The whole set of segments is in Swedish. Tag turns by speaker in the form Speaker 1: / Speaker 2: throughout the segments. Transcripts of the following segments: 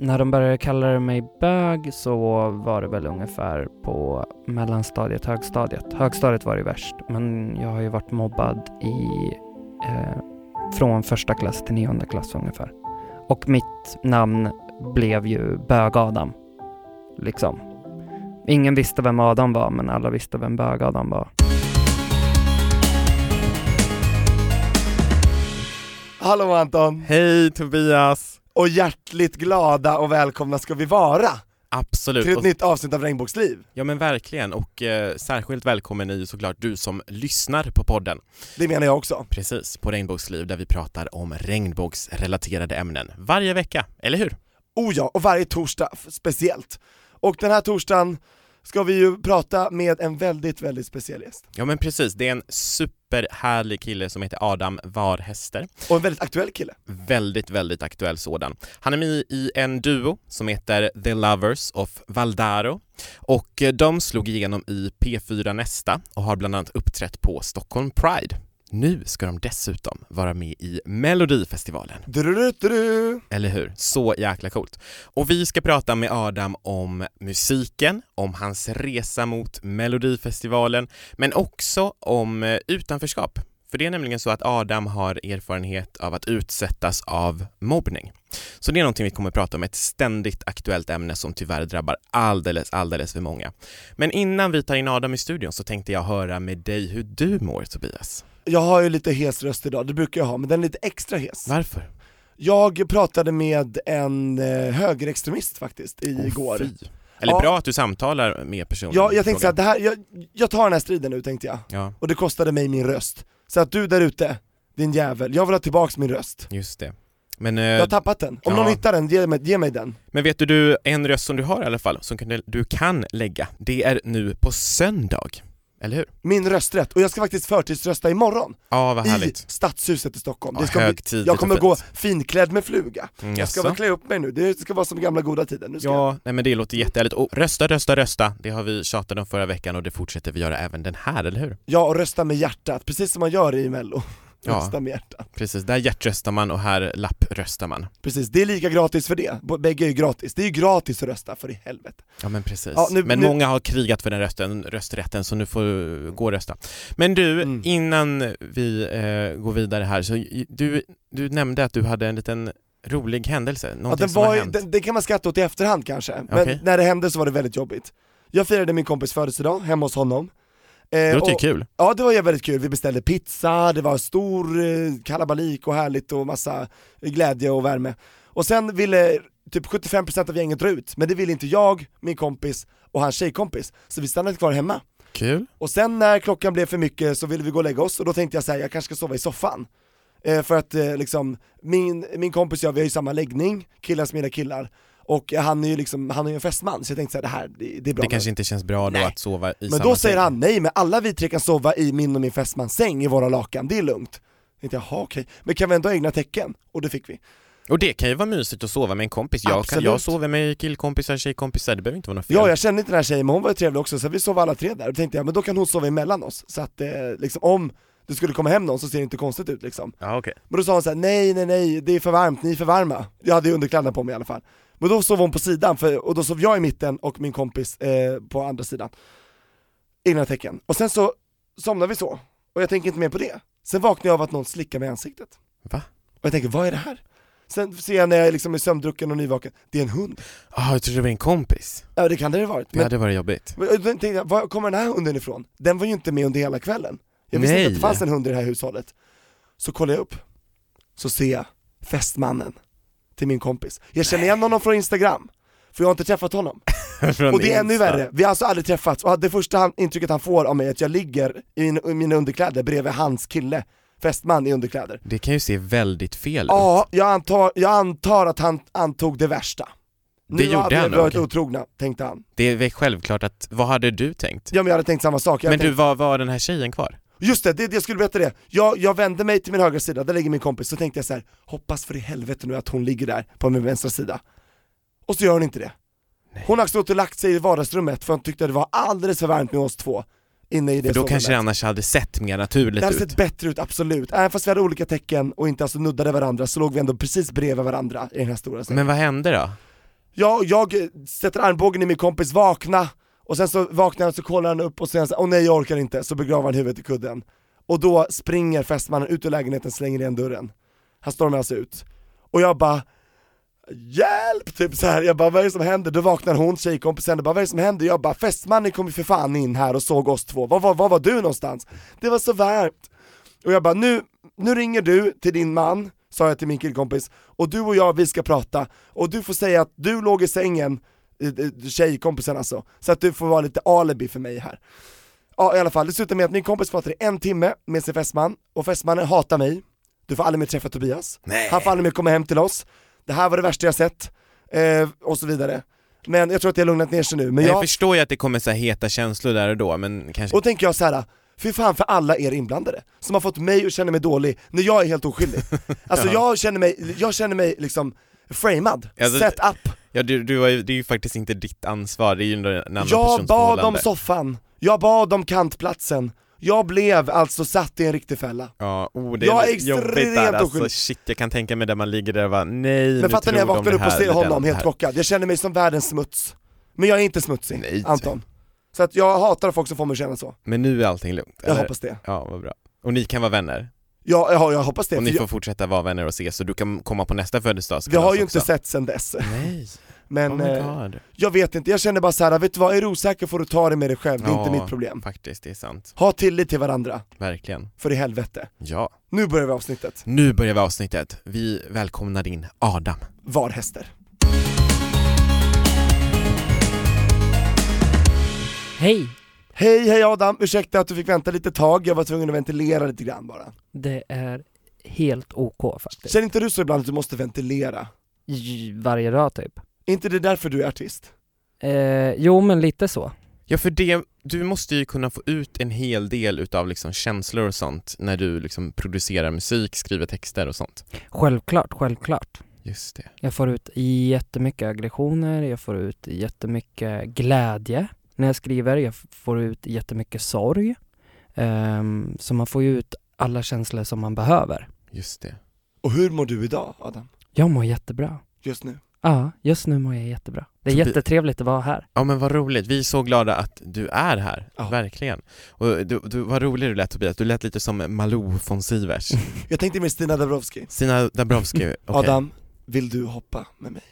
Speaker 1: När de började kalla mig bög så var det väl ungefär på mellanstadiet, högstadiet. Högstadiet var det värst, men jag har ju varit mobbad i, eh, från första klass till nionde klass ungefär. Och mitt namn blev ju Bög-Adam, liksom. Ingen visste vem Adam var, men alla visste vem Bög-Adam var.
Speaker 2: Hallå Anton!
Speaker 3: Hej Tobias!
Speaker 2: Och hjärtligt glada och välkomna ska vi vara till
Speaker 3: Absolut,
Speaker 2: ett
Speaker 3: och,
Speaker 2: nytt avsnitt av Regnbågsliv.
Speaker 3: ja men verkligen och eh, särskilt välkommen är ju såklart du som lyssnar på podden.
Speaker 2: Det menar jag också.
Speaker 3: Precis, på Regnbågsliv där vi pratar om regnbågsrelaterade ämnen varje vecka, eller hur?
Speaker 2: Oh ja, och varje torsdag f- speciellt. Och den här torsdagen ska vi ju prata med en väldigt, väldigt speciell gäst.
Speaker 3: Ja men precis, det är en superhärlig kille som heter Adam Varhäster.
Speaker 2: Och en väldigt aktuell kille.
Speaker 3: Väldigt, väldigt aktuell sådan. Han är med i en duo som heter The Lovers of Valdaro och eh, de slog igenom i P4 Nästa och har bland annat uppträtt på Stockholm Pride. Nu ska de dessutom vara med i Melodifestivalen,
Speaker 2: Druruturu.
Speaker 3: eller hur? Så jäkla coolt. Och vi ska prata med Adam om musiken, om hans resa mot Melodifestivalen, men också om eh, utanförskap. För det är nämligen så att Adam har erfarenhet av att utsättas av mobbning. Så det är någonting vi kommer att prata om, ett ständigt aktuellt ämne som tyvärr drabbar alldeles, alldeles för många. Men innan vi tar in Adam i studion så tänkte jag höra med dig hur du mår Tobias.
Speaker 2: Jag har ju lite hes röst idag, det brukar jag ha, men den är lite extra hes.
Speaker 3: Varför?
Speaker 2: Jag pratade med en eh, högerextremist faktiskt i- igår.
Speaker 3: Fy. Eller
Speaker 2: Ja.
Speaker 3: bra att du samtalar med personen.
Speaker 2: Ja,
Speaker 3: i
Speaker 2: jag tänkte
Speaker 3: frågan.
Speaker 2: såhär, det här, jag, jag tar den här striden nu tänkte jag.
Speaker 3: Ja,
Speaker 2: och det kostade mig min röst. Så att du där ute, din jävel, jag vill ha tillbaks min röst.
Speaker 3: just det. Men,
Speaker 2: Jag har
Speaker 3: eh,
Speaker 2: tappat den. Om
Speaker 3: ja.
Speaker 2: någon hittar den, ge mig, ge mig den.
Speaker 3: men vet du, du, en röst som du har i alla fall, som kan, du kan lägga, det är nu på söndag. Eller hur?
Speaker 2: Min rösträtt, och jag ska faktiskt förtidsrösta imorgon
Speaker 3: Ja, vad
Speaker 2: i
Speaker 3: Ah, härligt.
Speaker 2: Stadshuset i Stockholm.
Speaker 3: Ja, högtidligt
Speaker 2: jag kommer
Speaker 3: och
Speaker 2: gå
Speaker 3: fint.
Speaker 2: finklädd med fluga.
Speaker 3: Mm,
Speaker 2: Jag ska
Speaker 3: jaså?
Speaker 2: väl klä upp mig nu, det ska vara som gamla goda tiden. Nu ska jag...
Speaker 3: Ja, nej men det låter jättehärligt. Och rösta, rösta, rösta. Det har vi tjatat om förra veckan och det fortsätter vi göra även den här, eller hur?
Speaker 2: ja, och rösta med hjärtat, precis som man gör i mello.
Speaker 3: Ja.
Speaker 2: Rösta med hjärtat.
Speaker 3: Precis, där hjärtröstar man och här lappröstar man.
Speaker 2: Precis, det är lika gratis för det. B- Bägge är ju gratis. Det är ju gratis att rösta, för i helvete.
Speaker 3: Ja men precis.
Speaker 2: Ja, nu-
Speaker 3: men
Speaker 2: nu-
Speaker 3: många har krigat för den rösten, rösträtten så nu får du gå och rösta. Men du,
Speaker 2: Mm.
Speaker 3: innan vi eh, går vidare här så i- du, du nämnde att du hade en liten rolig händelse,
Speaker 2: Ja,
Speaker 3: någonting
Speaker 2: den,
Speaker 3: som
Speaker 2: var,
Speaker 3: har
Speaker 2: ju-
Speaker 3: hänt.
Speaker 2: den, den kan man skratta åt i efterhand kanske, men
Speaker 3: Okej.
Speaker 2: när det hände så var det väldigt jobbigt Jag firade min kompis födelsedag hemma hos honom Eh,
Speaker 3: Det låter ju
Speaker 2: och-
Speaker 3: kul.
Speaker 2: Ja det var ju väldigt kul, vi beställde pizza, det var stor eh, kalabalik och härligt och massa glädje och värme Och sen ville typ 75% av gänget dra ut, men det ville inte jag, min kompis och hans tjejkompis Så vi stannade kvar hemma
Speaker 3: Kul.
Speaker 2: och sen när klockan blev för mycket så ville vi gå och lägga oss och då tänkte jag säga jag kanske ska sova i soffan. Eh, för att eh, liksom, min, min kompis och jag vi har ju samma läggning, killar som gillar killar. Och han är ju liksom, han är ju en festman så jag tänkte så här, det här, det, det är bra.
Speaker 3: Det kanske inte känns bra då
Speaker 2: Nej.
Speaker 3: att sova i
Speaker 2: men
Speaker 3: samma
Speaker 2: då säger
Speaker 3: säng.
Speaker 2: han nej men alla vi tre kan sova i min och min fästmans säng i våra lakan, det är lugnt. Jag tänkte jaha okej, men kan vi ändå ha egna tecken? Och det fick vi.
Speaker 3: Och det kan ju vara mysigt att sova med en kompis. Jag, kan,
Speaker 2: Absolut.
Speaker 3: jag sover med killkompisar, tjejkompisar, det behöver inte vara något fel.
Speaker 2: Ja jag kände inte den här tjejen men hon var ju trevlig också så vi sov alla tre där och tänkte jag men då kan hon sova emellan oss. Så att eh, liksom om det skulle komma hem någon så ser det inte konstigt ut liksom.
Speaker 3: ja okej.
Speaker 2: Men då sa hon såhär, nej nej nej, det är för varmt, ni är för varma. Jag hade ju underkläderna på mig i alla fall. Men då sov hon på sidan, för, och då sov jag i mitten och min kompis eh, på andra sidan. Egna tecken. Och sen så somnade vi så, och jag tänker inte mer på det. Sen vaknade jag av att någon slickade mig i ansiktet.
Speaker 3: Va?
Speaker 2: Och jag tänker, vad är det här? Sen ser jag när jag liksom är sömndrucken och nyvaken, det är en hund.
Speaker 3: Ah, jag trodde det var en kompis.
Speaker 2: Ja det kan det ha varit.
Speaker 3: Det
Speaker 2: Men,
Speaker 3: hade varit jobbigt.
Speaker 2: men, och då tänkte jag, var kommer den här hunden ifrån? Den var ju inte med under hela kvällen. Jag visste inte att det
Speaker 3: Nej.
Speaker 2: fanns en hund i det här hushållet. Så kollar jag upp, så ser jag festmannen till min kompis. Jag känner igen honom från instagram, för jag har inte träffat honom.
Speaker 3: Från
Speaker 2: Och det är ännu
Speaker 3: Insta.
Speaker 2: värre, vi har alltså aldrig träffats och det första han- intrycket han får av mig är att jag ligger i min- i mina underkläder bredvid hans kille, festman i underkläder.
Speaker 3: Det kan ju se väldigt fel ut.
Speaker 2: Ja, jag antar, jag antar att han antog det värsta.
Speaker 3: Det
Speaker 2: nu
Speaker 3: gjorde
Speaker 2: hade
Speaker 3: han
Speaker 2: vi varit
Speaker 3: nog.
Speaker 2: otrogna, tänkte han.
Speaker 3: Det är väl självklart att, vad hade du tänkt?
Speaker 2: Ja men jag hade tänkt samma sak, jag
Speaker 3: Men
Speaker 2: hade
Speaker 3: du, var, var den här tjejen kvar?
Speaker 2: Just det, det, det jag skulle berätta det. Jag, jag vände mig till min högra sida, där ligger min kompis, så tänkte jag så här: hoppas för i helvete nu att hon ligger där på min vänstra sida. Och så gör hon inte det. Hon har stått och lagt sig i vardagsrummet för hon tyckte att det var alldeles för varmt med oss två inne i det
Speaker 3: För då kanske det
Speaker 2: sovrummet.
Speaker 3: annars hade sett mer
Speaker 2: Det
Speaker 3: naturligt
Speaker 2: hade
Speaker 3: ut.
Speaker 2: sett bättre ut, absolut. Även fast vi hade olika tecken och inte alltså nuddade varandra så låg vi ändå precis bredvid varandra i den här stora sängen.
Speaker 3: Men vad hände då?
Speaker 2: Jag, jag eh, sätter armbågen i min kompis, vakna! Och sen så vaknar han, så kollar han upp och sen så, åh nej jag orkar inte, så begraver han huvudet i kudden. Och då springer fästmannen ut ur lägenheten, slänger igen dörren. Han stormar alltså ut. Och jag bara, hjälp! Typ så här. jag bara vad är det som händer? Då vaknar hon, tjejkompisen, och bara vad är det som händer? Jag bara, fästmannen kom ju för fan in här och såg oss två, var, var, var var du någonstans? Det var så varmt! Och jag bara, nu, nu ringer du till din man, sa jag till min killkompis, och du och jag vi ska prata, och du får säga att du låg i sängen, eh, eh, tjejkompisen alltså, så att du får vara lite alibi för mig här. Ja i alla fall, det slutar med att min kompis pratar i en timme med sin fästman, och fästmannen hatar mig, du får aldrig mer träffa Tobias, han får aldrig mer komma hem till oss, det här var det värsta jag sett, eh, och så vidare. Men jag tror att det har lugnat ner sig nu, men
Speaker 3: Jag
Speaker 2: jag,
Speaker 3: förstår ju att det kommer så här heta känslor där och då, men kanske...
Speaker 2: och då tänker jag så här. Fy fan för alla er inblandade, som har fått mig att känna mig dålig när jag är helt oskyldig. Alltså jag känner mig, jag känner mig liksom framad,
Speaker 3: Alltså,
Speaker 2: set up.
Speaker 3: Ja, du, du har ju, det är ju faktiskt inte ditt ansvar, det är ju en annan
Speaker 2: Jag
Speaker 3: persons
Speaker 2: bad om
Speaker 3: förhållande.
Speaker 2: soffan, jag bad om kantplatsen, jag blev alltså satt i en riktig fälla.
Speaker 3: Ja, oh, det
Speaker 2: Jag
Speaker 3: är
Speaker 2: är
Speaker 3: jobbigt där
Speaker 2: extremt
Speaker 3: alltså,
Speaker 2: oskyldig.
Speaker 3: shit jag kan tänka mig där man ligger där och bara nej nu
Speaker 2: Men fattar ni, jag
Speaker 3: tror de
Speaker 2: vaknar
Speaker 3: det
Speaker 2: upp och
Speaker 3: här
Speaker 2: ser
Speaker 3: eller
Speaker 2: honom
Speaker 3: det
Speaker 2: helt
Speaker 3: här.
Speaker 2: chockad. Jag känner mig som världens smuts. Men jag är inte smutsig,
Speaker 3: Nej.
Speaker 2: Anton. Så att jag hatar folk som får mig att känna så.
Speaker 3: Men nu är allting lugnt,
Speaker 2: Jag
Speaker 3: eller?
Speaker 2: hoppas det.
Speaker 3: Ja, vad bra. Och ni kan vara vänner,
Speaker 2: Jag, jag, jag hoppas det,
Speaker 3: och
Speaker 2: för
Speaker 3: ni får
Speaker 2: jag,
Speaker 3: fortsätta vara vänner och ses, så du kan komma på nästa födelsedagskalas
Speaker 2: vi har ju
Speaker 3: också.
Speaker 2: inte sett sen dess.
Speaker 3: Nej,
Speaker 2: Men,
Speaker 3: oh my
Speaker 2: eh,
Speaker 3: god.
Speaker 2: Jag vet inte, jag känner bara så här, vet du vad, är du osäker får du ta det med dig själv, det är inte
Speaker 3: Ja,
Speaker 2: mitt problem.
Speaker 3: Faktiskt, det är sant.
Speaker 2: Ha tillit till varandra,
Speaker 3: Verkligen.
Speaker 2: för i helvete.
Speaker 3: Ja.
Speaker 2: Nu börjar vi avsnittet,
Speaker 3: Nu börjar vi avsnittet. Vi välkomnar in Adam.
Speaker 2: var häster.
Speaker 1: Hej!
Speaker 2: Hej, hej Adam, ursäkta att du fick vänta lite tag, jag var tvungen att ventilera lite grann bara.
Speaker 1: Det är helt OK faktiskt.
Speaker 2: Känner inte du så ibland att du måste ventilera?
Speaker 1: J- Varje dag typ.
Speaker 2: Är inte det därför du är artist?
Speaker 1: Eh, jo, men lite så.
Speaker 3: Ja för det, du måste ju kunna få ut en hel del utav liksom känslor och sånt när du liksom producerar musik, skriver texter och sånt.
Speaker 1: Självklart, självklart.
Speaker 3: Just det.
Speaker 1: Jag får ut jättemycket aggressioner, jag får ut jättemycket glädje när jag skriver, jag f- får ut jättemycket sorg. Ehm, så man får ju ut alla känslor som man behöver.
Speaker 3: Just det.
Speaker 2: Och hur mår du idag Adam?
Speaker 1: Jag mår jättebra.
Speaker 2: Just nu?
Speaker 1: Ja, just nu mår jag jättebra. Det är
Speaker 3: Tobi-
Speaker 1: jättetrevligt att vara här.
Speaker 3: Ja men vad roligt, vi är så glada att du är här,
Speaker 2: Ja.
Speaker 3: verkligen. Och du, du, vad rolig du lät Tobias, du lät lite som Malou von Sivers.
Speaker 2: Jag tänkte med Stina Dabrowski.
Speaker 3: Stina Dabrowski, okej.
Speaker 2: Adam, vill du hoppa med mig?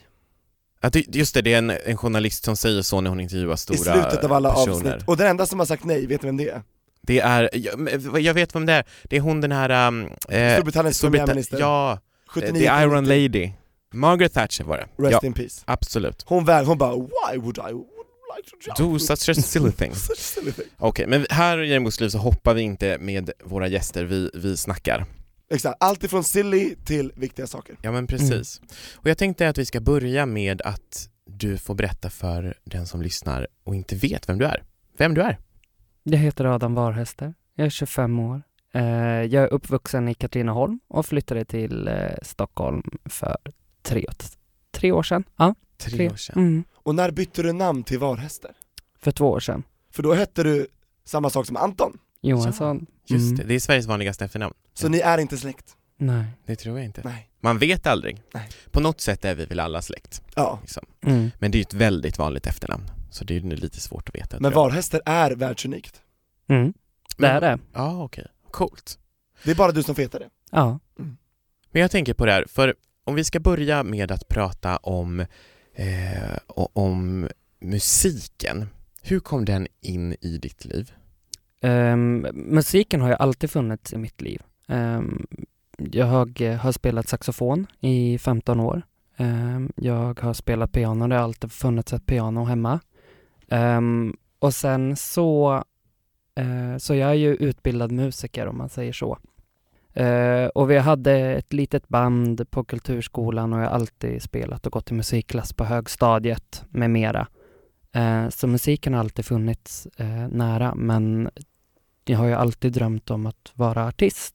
Speaker 3: Ja, det- just det, det är en, en journalist som säger så när hon intervjuar stora
Speaker 2: I slutet av alla
Speaker 3: personer. Eh,
Speaker 2: avsnitt. Och den enda som har sagt nej, vet du vem det är?
Speaker 3: Det är, jag, men jag vet vem det är, det är hon den här... Um, eh,
Speaker 2: Storbritanniens
Speaker 3: Storbrit-
Speaker 2: premiärminister.
Speaker 3: Ja, eh,
Speaker 2: 79,
Speaker 3: The Iron Lady. Margaret Thatcher var det.
Speaker 2: Rest
Speaker 3: ja,
Speaker 2: in peace.
Speaker 3: absolut.
Speaker 2: Hon väg, hon bara 'Why would I would like to jump?'
Speaker 3: Do such a silly things.
Speaker 2: Such silly thing.
Speaker 3: Okej, men här i Jermos liv så hoppar vi inte med våra gäster, vi, vi snackar.
Speaker 2: Exakt, allt ifrån silly till viktiga saker.
Speaker 3: Ja men precis.
Speaker 2: Mm.
Speaker 3: Och jag tänkte att vi ska börja med att du får berätta för den som lyssnar och inte vet vem du är. Vem du är.
Speaker 1: Jag heter Adam Varhäster, jag är 25 år. Eh, jag är uppvuxen i Katrineholm och flyttade till eh, Stockholm för tre, tre år sedan. Ja,
Speaker 3: Tre, år sedan.
Speaker 1: Mm,
Speaker 2: Och när bytte du namn till Varhäster?
Speaker 1: för två år sedan.
Speaker 2: För då hette du samma sak som Anton,
Speaker 1: Johansson.
Speaker 3: Just
Speaker 1: Mm.
Speaker 3: det, det är Sveriges vanligaste efternamn.
Speaker 2: så ni är inte släkt.
Speaker 1: Nej.
Speaker 3: Det tror jag inte.
Speaker 2: Nej.
Speaker 3: Man vet aldrig.
Speaker 2: Nej.
Speaker 3: På något sätt är vi väl alla släkt.
Speaker 2: Ja,
Speaker 3: Liksom.
Speaker 1: Mm.
Speaker 3: Men det är ju ett väldigt vanligt efternamn. Så det är ju lite svårt att veta.
Speaker 2: men
Speaker 3: tror jag.
Speaker 2: Varhäster är världsunikt.
Speaker 1: Mm. Det är det.
Speaker 3: Ja, okej. Coolt.
Speaker 2: Det är bara du som får heta det.
Speaker 1: Ja.
Speaker 3: Men jag tänker på det här, för om vi ska börja med att prata om, eh, o- om musiken. Hur kom den in i ditt liv?
Speaker 1: Ehm, musiken har ju alltid funnits i mitt liv. Ehm, jag eh, har spelat saxofon i 15 år. Ehm, jag har spelat piano, det har alltid funnits ett piano hemma. Ehm, och sen så, eh, så jag är ju utbildad musiker om man säger så. Eh, och vi hade ett litet band på kulturskolan och jag har alltid spelat och gått i musikklass på högstadiet med mera. Eh, så musiken har alltid funnits eh, nära men jag har ju alltid drömt om att vara artist.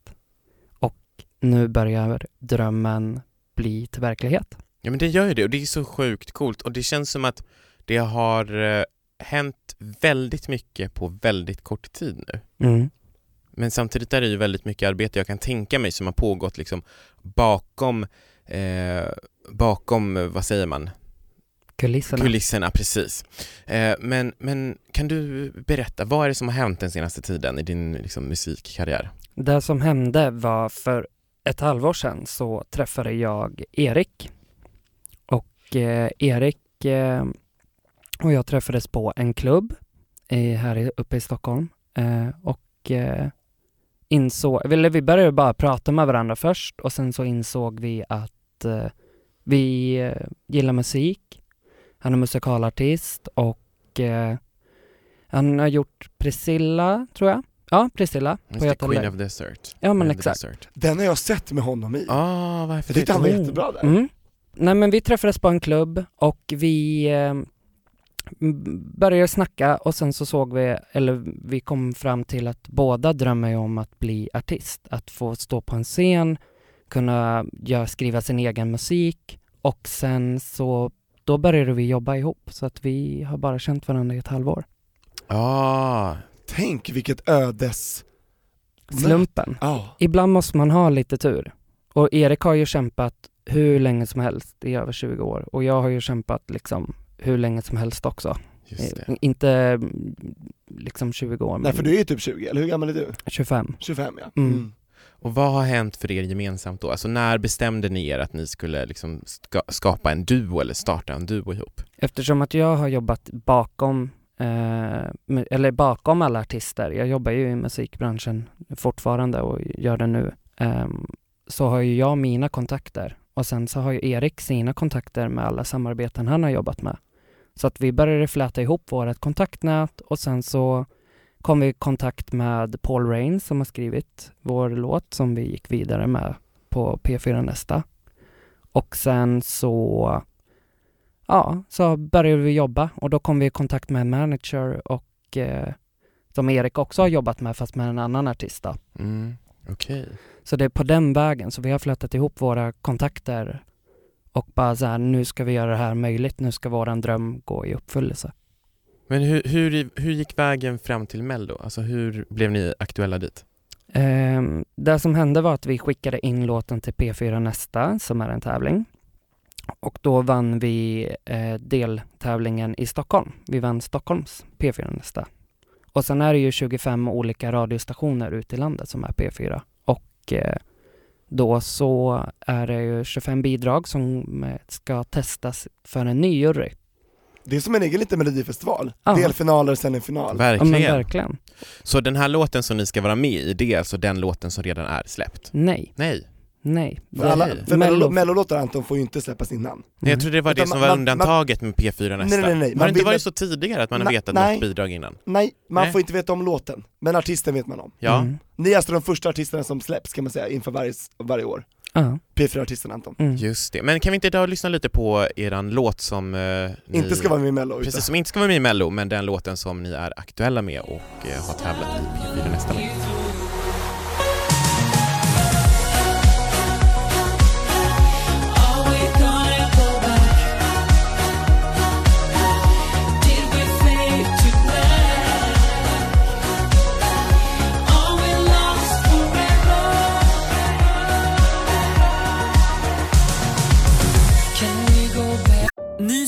Speaker 1: Och nu börjar drömmen bli till verklighet.
Speaker 3: Ja men det gör ju det och det är så sjukt coolt och det känns som att det har eh, hänt väldigt mycket på väldigt kort tid nu. Men samtidigt är det ju väldigt mycket arbete jag kan tänka mig som har pågått liksom bakom, eh, bakom, vad säger man,
Speaker 1: Kulisserna.
Speaker 3: kulisserna precis. Eh, men, men kan du berätta, vad är det som har hänt den senaste tiden i din liksom, musikkarriär?
Speaker 1: Det som hände var för ett halvår sedan så träffade jag Erik. Och eh, Erik eh, och jag träffades på en klubb i, här i, uppe i Stockholm. Eh, och eh, insåg, eller vi började bara prata med varandra först och sen så insåg vi att eh, vi eh, gillar musik. Han är musikalartist och eh, han har gjort Priscilla, tror jag. Ja, Priscilla. på
Speaker 3: Just det,
Speaker 1: Göta
Speaker 3: Queen
Speaker 1: Le-
Speaker 3: of Desert.
Speaker 1: Ja, men
Speaker 2: Eh,
Speaker 3: Queen of the
Speaker 1: exakt.
Speaker 3: Desert.
Speaker 2: Den har jag sett med honom i.
Speaker 3: Ah, vad
Speaker 2: Jag tyckte han
Speaker 3: häftigt.
Speaker 2: var
Speaker 1: Mm.
Speaker 2: jättebra där.
Speaker 1: Mm. Nej men vi träffades på en klubb och vi eh, m- började snacka och sen så såg vi, eller vi kom fram till att båda drömmer ju om att bli artist. Att få stå på en scen, kunna göra, skriva sin egen musik och sen så då började vi jobba ihop så att vi har bara känt varandra i ett halvår.
Speaker 3: Ah,
Speaker 2: Tänk vilket ödes...
Speaker 1: Slumpen.
Speaker 2: Ja.
Speaker 1: Ibland måste man ha lite tur. Och Erik har ju kämpat hur länge som helst i över 20 år och jag har ju kämpat liksom hur länge som helst också.
Speaker 3: just det.
Speaker 1: Eh, Inte mm, liksom 20 år,
Speaker 2: Nej
Speaker 1: men
Speaker 2: för du är ju typ 20, eller hur gammal är du?
Speaker 1: 25.
Speaker 2: 25 ja.
Speaker 1: Mm.
Speaker 3: Och vad har hänt för er gemensamt då? Alltså när bestämde ni er att ni skulle liksom ska skapa en duo eller starta en duo ihop?
Speaker 1: Eftersom att jag har jobbat bakom, eh, med- eller bakom alla artister, jag jobbar ju i musikbranschen fortfarande och gör det nu, ehm, så har ju jag mina kontakter och sen så har ju Erik sina kontakter med alla samarbeten han har jobbat med. Så att vi började fläta ihop vårt kontaktnät och sen så kom vi i kontakt med Paul Rain som har skrivit vår låt som vi gick vidare med på P4 Nästa. Och sen så ja, så började vi jobba och då kom vi i kontakt med en manager och eh, som Erik också har jobbat med fast med en annan artist då.
Speaker 3: Mm, okej.
Speaker 1: Så det är på den vägen, så vi har flätat ihop våra kontakter och bara så här, nu ska vi göra det här möjligt, nu ska våran dröm gå i uppfyllelse.
Speaker 3: Men hur, hur, hur gick vägen fram till Mello? Alltså hur blev ni aktuella dit?
Speaker 1: Ehm, det som hände var att vi skickade in låten till P4 Nästa, som är en tävling. Och då vann vi eh, deltävlingen i Stockholm. Vi vann Stockholms P4 Nästa. Och sen är det ju 25 olika radiostationer ute i landet som är P4. Och eh, då så är det ju 25 bidrag som eh, ska testas för en ny jury.
Speaker 2: Det är som en egen liten melodifestival.
Speaker 1: Ja.
Speaker 2: Delfinaler, sen en final.
Speaker 1: Ja, men
Speaker 3: Verkligen.
Speaker 1: verkligen.
Speaker 3: Så den här låten som ni ska vara med i, det är alltså den låten som redan är släppt?
Speaker 1: Nej,
Speaker 3: Nej,
Speaker 1: nej.
Speaker 2: För, alla,
Speaker 3: Nej.
Speaker 2: för Mello-
Speaker 1: Mello-
Speaker 2: mellolåtar Anton får ju inte släppa sin namn.
Speaker 3: Nej, jag trodde det var
Speaker 2: Mm. Utan
Speaker 3: det som
Speaker 2: man-
Speaker 3: var
Speaker 2: man-
Speaker 3: undantaget med P4 Nästa.
Speaker 2: Nej, nej, nej,
Speaker 3: Har
Speaker 2: man
Speaker 3: det inte
Speaker 2: vill
Speaker 3: varit
Speaker 2: att-
Speaker 3: så tidigare att man har
Speaker 2: Na-
Speaker 3: vetat
Speaker 2: nej.
Speaker 3: något bidrag innan?
Speaker 2: Nej, man
Speaker 3: Nej.
Speaker 2: får inte veta om låten, men artisten vet man om.
Speaker 3: Ja,
Speaker 1: Mm.
Speaker 2: Ni är alltså de första artisterna som släpps kan man säga inför varje, varje år.
Speaker 1: Ja.
Speaker 2: P4-artisten Anton.
Speaker 1: Mm.
Speaker 3: just det. Men kan vi inte idag lyssna lite på eran låt som eh, ni...
Speaker 2: Inte ska vara med i mello, utan-
Speaker 3: Precis, som inte ska vara med i Mello, men den låten som ni är aktuella med och eh, har tävlat i P4 Nästa med.
Speaker 4: Ny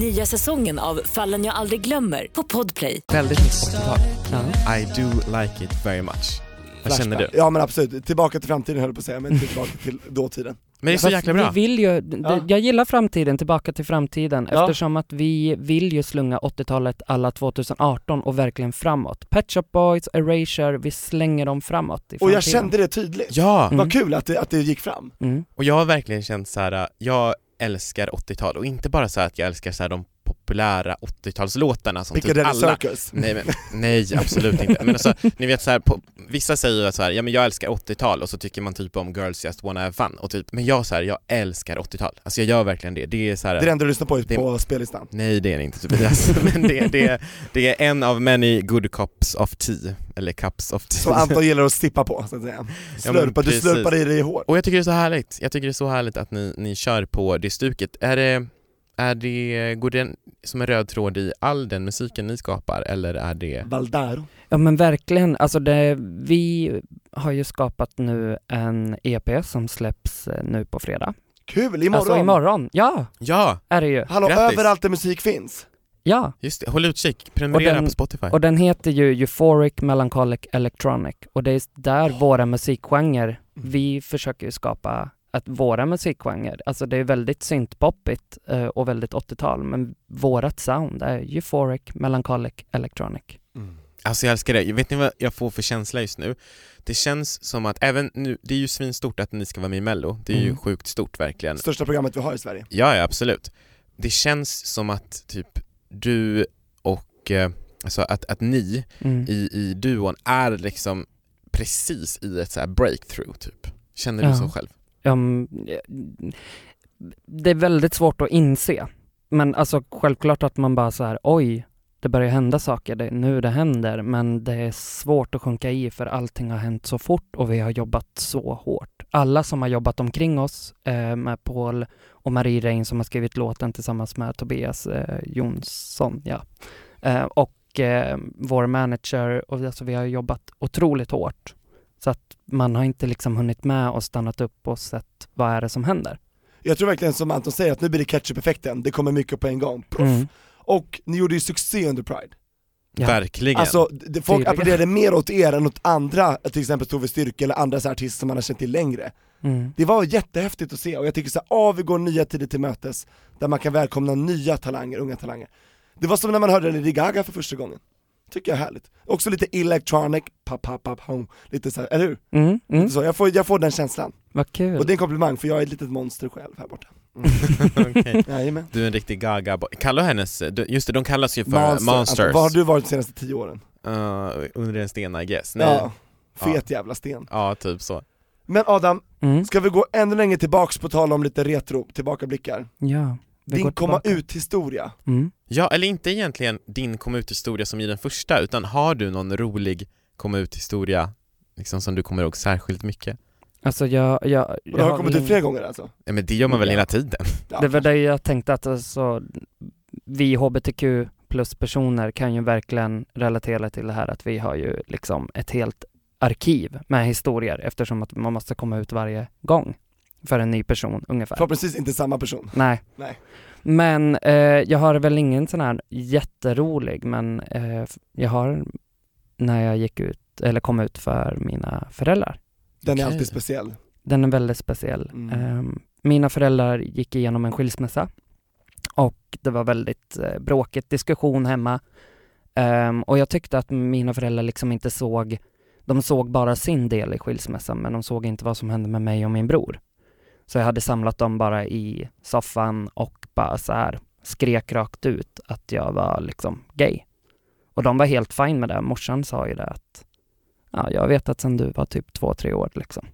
Speaker 5: Nya säsongen av Fallen jag aldrig glömmer på Podplay.
Speaker 1: Väldigt mycket 80-tal. Ja.
Speaker 3: I do like it very much. Vad känner du?
Speaker 2: Flashback. Ja men absolut, tillbaka till framtiden höll jag på att säga, men tillbaka till dåtiden.
Speaker 3: Men det är så
Speaker 1: Fast
Speaker 3: jäkla
Speaker 1: vi
Speaker 3: bra.
Speaker 1: Vill ju, d-
Speaker 2: Ja.
Speaker 1: Jag gillar framtiden, tillbaka till framtiden,
Speaker 2: Ja.
Speaker 1: eftersom att vi vill ju slunga 80-talet alla 2018 och verkligen framåt. Pet Shop Boys, Erasure, vi slänger dem framåt i framtiden.
Speaker 2: Och jag kände det tydligt.
Speaker 3: Ja,
Speaker 1: Mm.
Speaker 2: Vad kul att det, att det gick fram.
Speaker 1: Mm.
Speaker 3: och jag har verkligen känt så här. jag älskar 80-tal och inte bara så här att jag älskar så här de populära 80-talslåtarna som typ
Speaker 2: Piccadilly
Speaker 3: alla
Speaker 2: Circus.
Speaker 3: Nej, men, nej absolut inte. Men alltså, ni vet så här, på, vissa säger ju att så här, ja men jag älskar 80-tal och så tycker man typ om Girls Just Wanna Have Fun och typ, men jag så här, jag älskar 80-tal. Alltså jag gör verkligen det. Det är så här,
Speaker 2: Det är det enda du lyssnar på
Speaker 3: Det-
Speaker 2: på spellistan.
Speaker 3: nej det är det inte Tobias, men det, det, det är en av many good cups of tea, eller cups of
Speaker 2: Som
Speaker 3: tea.
Speaker 2: Anton gillar att sippa på, så att säga. Slurpa, du
Speaker 3: precis.
Speaker 2: slurpar i dig i hår.
Speaker 3: Och jag tycker det är så härligt, jag tycker det är så härligt att ni, ni kör på det stuket. Är det, är det, går det som en röd tråd i all den musiken ni skapar eller är det,
Speaker 2: Valdaro.
Speaker 1: Ja men verkligen, alltså det, vi har ju skapat nu en EP som släpps eh, nu på fredag.
Speaker 2: Kul, imorgon!
Speaker 1: Alltså imorgon, ja!
Speaker 3: ja,
Speaker 1: Är det ju.
Speaker 2: Hallå,
Speaker 3: Grattis.
Speaker 2: överallt där musik finns.
Speaker 1: Ja,
Speaker 3: just det, håll utkik, prenumerera
Speaker 1: Och den-
Speaker 3: på Spotify.
Speaker 1: och den heter ju Euphoric Melancholic Electronic och det är där våra musikgenrer, vi försöker ju skapa att våra musikgenrer, alltså det är väldigt syntpoppigt eh, och väldigt 80-tal, men vårat sound är Euphoric Melancholic Electronic.
Speaker 3: Alltså jag älskar det. Vet ni vad jag får för känsla just nu? Det känns som att även nu, det är ju svinstort att ni ska vara med i mello, det är ju
Speaker 1: Mm.
Speaker 3: sjukt stort verkligen.
Speaker 2: Största programmet vi har i Sverige.
Speaker 3: Ja, ja absolut. Det känns som att typ du och, eh, alltså att, att ni
Speaker 1: Mm.
Speaker 3: i, i duon är liksom precis i ett så här breakthrough typ. Känner du
Speaker 1: Ja.
Speaker 3: så själv?
Speaker 1: Ja, mm, eh, det är väldigt svårt att inse. Men alltså självklart att man bara så här, oj, det börjar hända saker, det är nu det händer, men det är svårt att sjunka i för allting har hänt så fort och vi har jobbat så hårt. Alla som har jobbat omkring oss eh, med Paul och Marie Rein som har skrivit låten tillsammans med Tobias eh, Jonsson, ja. Eh, och eh, vår manager, och alltså vi har jobbat otroligt hårt. Så att man har inte liksom hunnit med och stannat upp och sett vad är det som händer.
Speaker 2: Jag tror verkligen som Anton säger, att nu blir det ketchup-effekten, det kommer mycket på en gång. Puff.
Speaker 1: Mm.
Speaker 2: Och ni gjorde ju succé under Pride.
Speaker 1: Ja.
Speaker 3: Verkligen.
Speaker 2: Alltså, det, folk
Speaker 1: Tydligen.
Speaker 2: applåderade mer åt er än åt andra, till exempel Tove Styrke eller andra så här artister som man har känt till längre.
Speaker 1: Mm.
Speaker 2: Det var jättehäftigt att se och jag tycker så här, ah, vi går nya tider till mötes, där man kan välkomna nya talanger, unga talanger. Det var som när man hörde Lady Gaga för första gången. Tycker jag är härligt. Också lite electronic, pa, pa, pa, pa, lite så här, eller hur?
Speaker 1: Mm. Mm.
Speaker 2: Så jag, får, jag får den känslan.
Speaker 1: Vad kul.
Speaker 2: Och det är en komplimang för jag är ett litet monster själv här borta.
Speaker 3: Okej.
Speaker 2: Jajamän.
Speaker 3: Du är en riktig gaga boy. Kallar hennes, du- just det, de kallas ju för
Speaker 2: Monster, Anton.
Speaker 3: monsters.
Speaker 2: Vad har du varit de senaste tio åren?
Speaker 3: Eh, under en sten I guess. Nej.
Speaker 2: Ja,
Speaker 3: Ja.
Speaker 2: fet jävla sten.
Speaker 3: ja, typ så.
Speaker 2: Men Adam,
Speaker 1: mm.
Speaker 2: ska vi gå ännu längre tillbaks på tal om lite retro, tillbakablickar?
Speaker 1: Ja. vi går
Speaker 2: Din komma
Speaker 1: tillbaka.
Speaker 2: ut-historia.
Speaker 1: Mm.
Speaker 3: Ja, eller inte egentligen din kom ut-historia som i den första, utan har du någon rolig kom ut-historia liksom som du kommer ihåg särskilt mycket?
Speaker 1: Alltså jag... jag,
Speaker 2: Och
Speaker 1: jag
Speaker 2: det har kommit ut
Speaker 1: ingen-
Speaker 2: flera gånger alltså?
Speaker 3: Ja, men det gör man väl
Speaker 2: Ja.
Speaker 3: hela tiden?
Speaker 2: Ja.
Speaker 1: Det var det jag tänkte att alltså, vi hbtq plus personer kan ju verkligen relatera till det här att vi har ju liksom ett helt arkiv med historier eftersom att man måste komma ut varje gång för en ny person ungefär.
Speaker 2: Förhoppningsvis inte samma person.
Speaker 1: Nej.
Speaker 2: Nej.
Speaker 1: Men eh, jag har väl ingen sån här jätterolig, men eh, f- jag har när jag gick ut, eller kom ut för mina föräldrar.
Speaker 2: Den är
Speaker 3: Okej.
Speaker 2: alltid speciell.
Speaker 1: Den är väldigt speciell.
Speaker 2: Mm.
Speaker 1: Ehm, mina föräldrar gick igenom en skilsmässa och det var väldigt eh, bråkigt, diskussion hemma. Ehm, och jag tyckte att mina föräldrar liksom inte såg, de såg bara sin del i skilsmässan men de såg inte vad som hände med mig och min bror. Så jag hade samlat dem bara i soffan och bara så här skrek rakt ut att jag var liksom gay. Och de var helt fine med det. Morsan sa ju det att ja, jag vet att sen du var typ två, tre år liksom.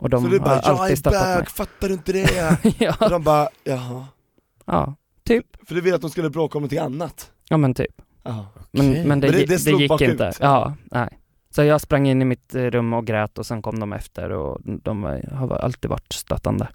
Speaker 1: Och de
Speaker 2: så du
Speaker 1: har
Speaker 2: bara 'Jag
Speaker 1: alltid
Speaker 2: är
Speaker 1: stöttat
Speaker 2: bög,
Speaker 1: mig.
Speaker 2: fattar du inte det?' och
Speaker 1: ja,
Speaker 2: de bara 'Jaha'
Speaker 1: ja, typ.
Speaker 2: För du ville att de skulle bråka om någonting annat?
Speaker 1: Ja men typ.
Speaker 2: Jaha.
Speaker 1: Men,
Speaker 3: Okej.
Speaker 1: men det,
Speaker 2: Men det-
Speaker 1: gi-
Speaker 2: det
Speaker 1: det,
Speaker 2: slog
Speaker 1: gick
Speaker 2: bakut.
Speaker 1: inte. Ja, nej. Så jag sprang in i mitt eh, rum och grät och sen kom de efter och de var- har alltid varit stöttande.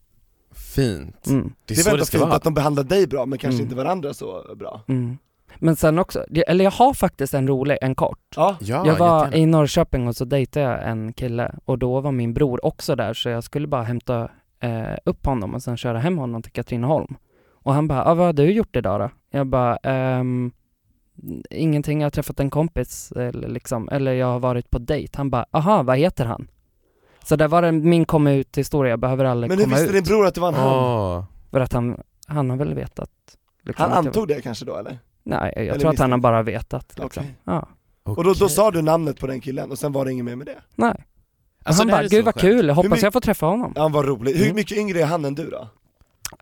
Speaker 3: Fint.
Speaker 1: Mm,
Speaker 3: Det är
Speaker 2: Det är
Speaker 3: så
Speaker 2: väl
Speaker 3: det
Speaker 2: ändå
Speaker 3: ska
Speaker 2: fint
Speaker 3: vara.
Speaker 2: att de behandlar dig bra men kanske
Speaker 1: Mm.
Speaker 2: inte varandra så bra.
Speaker 1: mm. Men sen också, eller jag har faktiskt en rolig, en kort.
Speaker 2: Ja.
Speaker 3: Ja,
Speaker 1: jag var
Speaker 3: jättegärna.
Speaker 1: i Norrköping och så dejtade jag en kille och då var min bror också där så jag skulle bara hämta eh, upp honom och sen köra hem honom till Katrineholm. Och han bara, ah, vad har du gjort idag då? Jag bara, ehm, ingenting, jag har träffat en kompis eller liksom, eller jag har varit på dejt. Han bara, aha, vad heter han? Så där var det min komma ut historia, jag behöver aldrig
Speaker 2: Men hur
Speaker 1: komma
Speaker 2: visste
Speaker 1: ut.
Speaker 2: din bror att det var en han?
Speaker 3: Åh.
Speaker 1: För att han, han har väl vetat. liksom,
Speaker 2: Han
Speaker 1: att jag-
Speaker 2: antog det kanske då eller?
Speaker 1: Nej, jag
Speaker 2: Eller
Speaker 1: tror att han har
Speaker 2: misstänkt.
Speaker 1: bara vetat. Liksom.
Speaker 2: Okej.
Speaker 1: Ja.
Speaker 2: Och då, då sa du namnet på den killen och sen var det inget mer med det?
Speaker 1: Nej.
Speaker 3: Alltså,
Speaker 1: han
Speaker 3: det här
Speaker 1: bara,
Speaker 3: är
Speaker 1: gud
Speaker 3: så
Speaker 1: vad
Speaker 3: skönt.
Speaker 1: kul, jag hoppas
Speaker 2: mycket-
Speaker 1: jag får träffa honom.
Speaker 2: Ja, Han var rolig, hur
Speaker 1: Mm.
Speaker 2: mycket yngre är han än du då?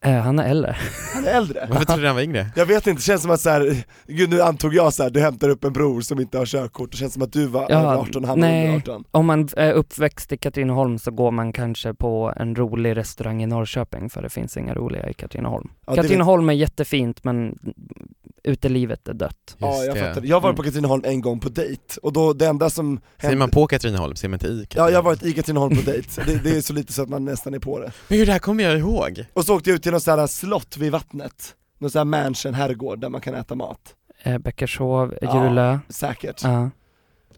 Speaker 1: Eh, han är äldre.
Speaker 2: Han är äldre?
Speaker 3: Varför trodde du han var yngre?
Speaker 2: Jag vet inte, det känns som att så här, gud nu antog jag så här, du hämtar upp en bror som inte har körkort, det känns som att du var
Speaker 1: Ja,
Speaker 2: över 18 och han var
Speaker 1: nej.
Speaker 2: under 18
Speaker 1: Om man är uppväxt i Katrineholm så går man kanske på en rolig restaurang i Norrköping för det finns inga roliga i Katrineholm.
Speaker 2: Ja, det vet-
Speaker 1: Katrineholm är jättefint men utelivet är dött.
Speaker 2: Ja
Speaker 3: Just
Speaker 2: jag
Speaker 3: det.
Speaker 2: fattar, jag var
Speaker 1: Mm.
Speaker 2: på Katrineholm en gång på dejt, och då det enda som
Speaker 3: Säger
Speaker 2: hände
Speaker 3: man på Katrineholm, säger man inte i
Speaker 2: Ja
Speaker 3: Katrineholm?
Speaker 2: jag har varit i Katrineholm på dejt, det, det är så lite så att man nästan är på det
Speaker 3: Men hur det här kommer jag ihåg?
Speaker 2: Och så åkte jag ut till något så här slott vid vattnet, någon så här mansion, herrgård där man kan äta mat,
Speaker 1: Eh, Bäckershov,
Speaker 2: Ja.
Speaker 1: Julö.
Speaker 2: säkert
Speaker 1: Ja.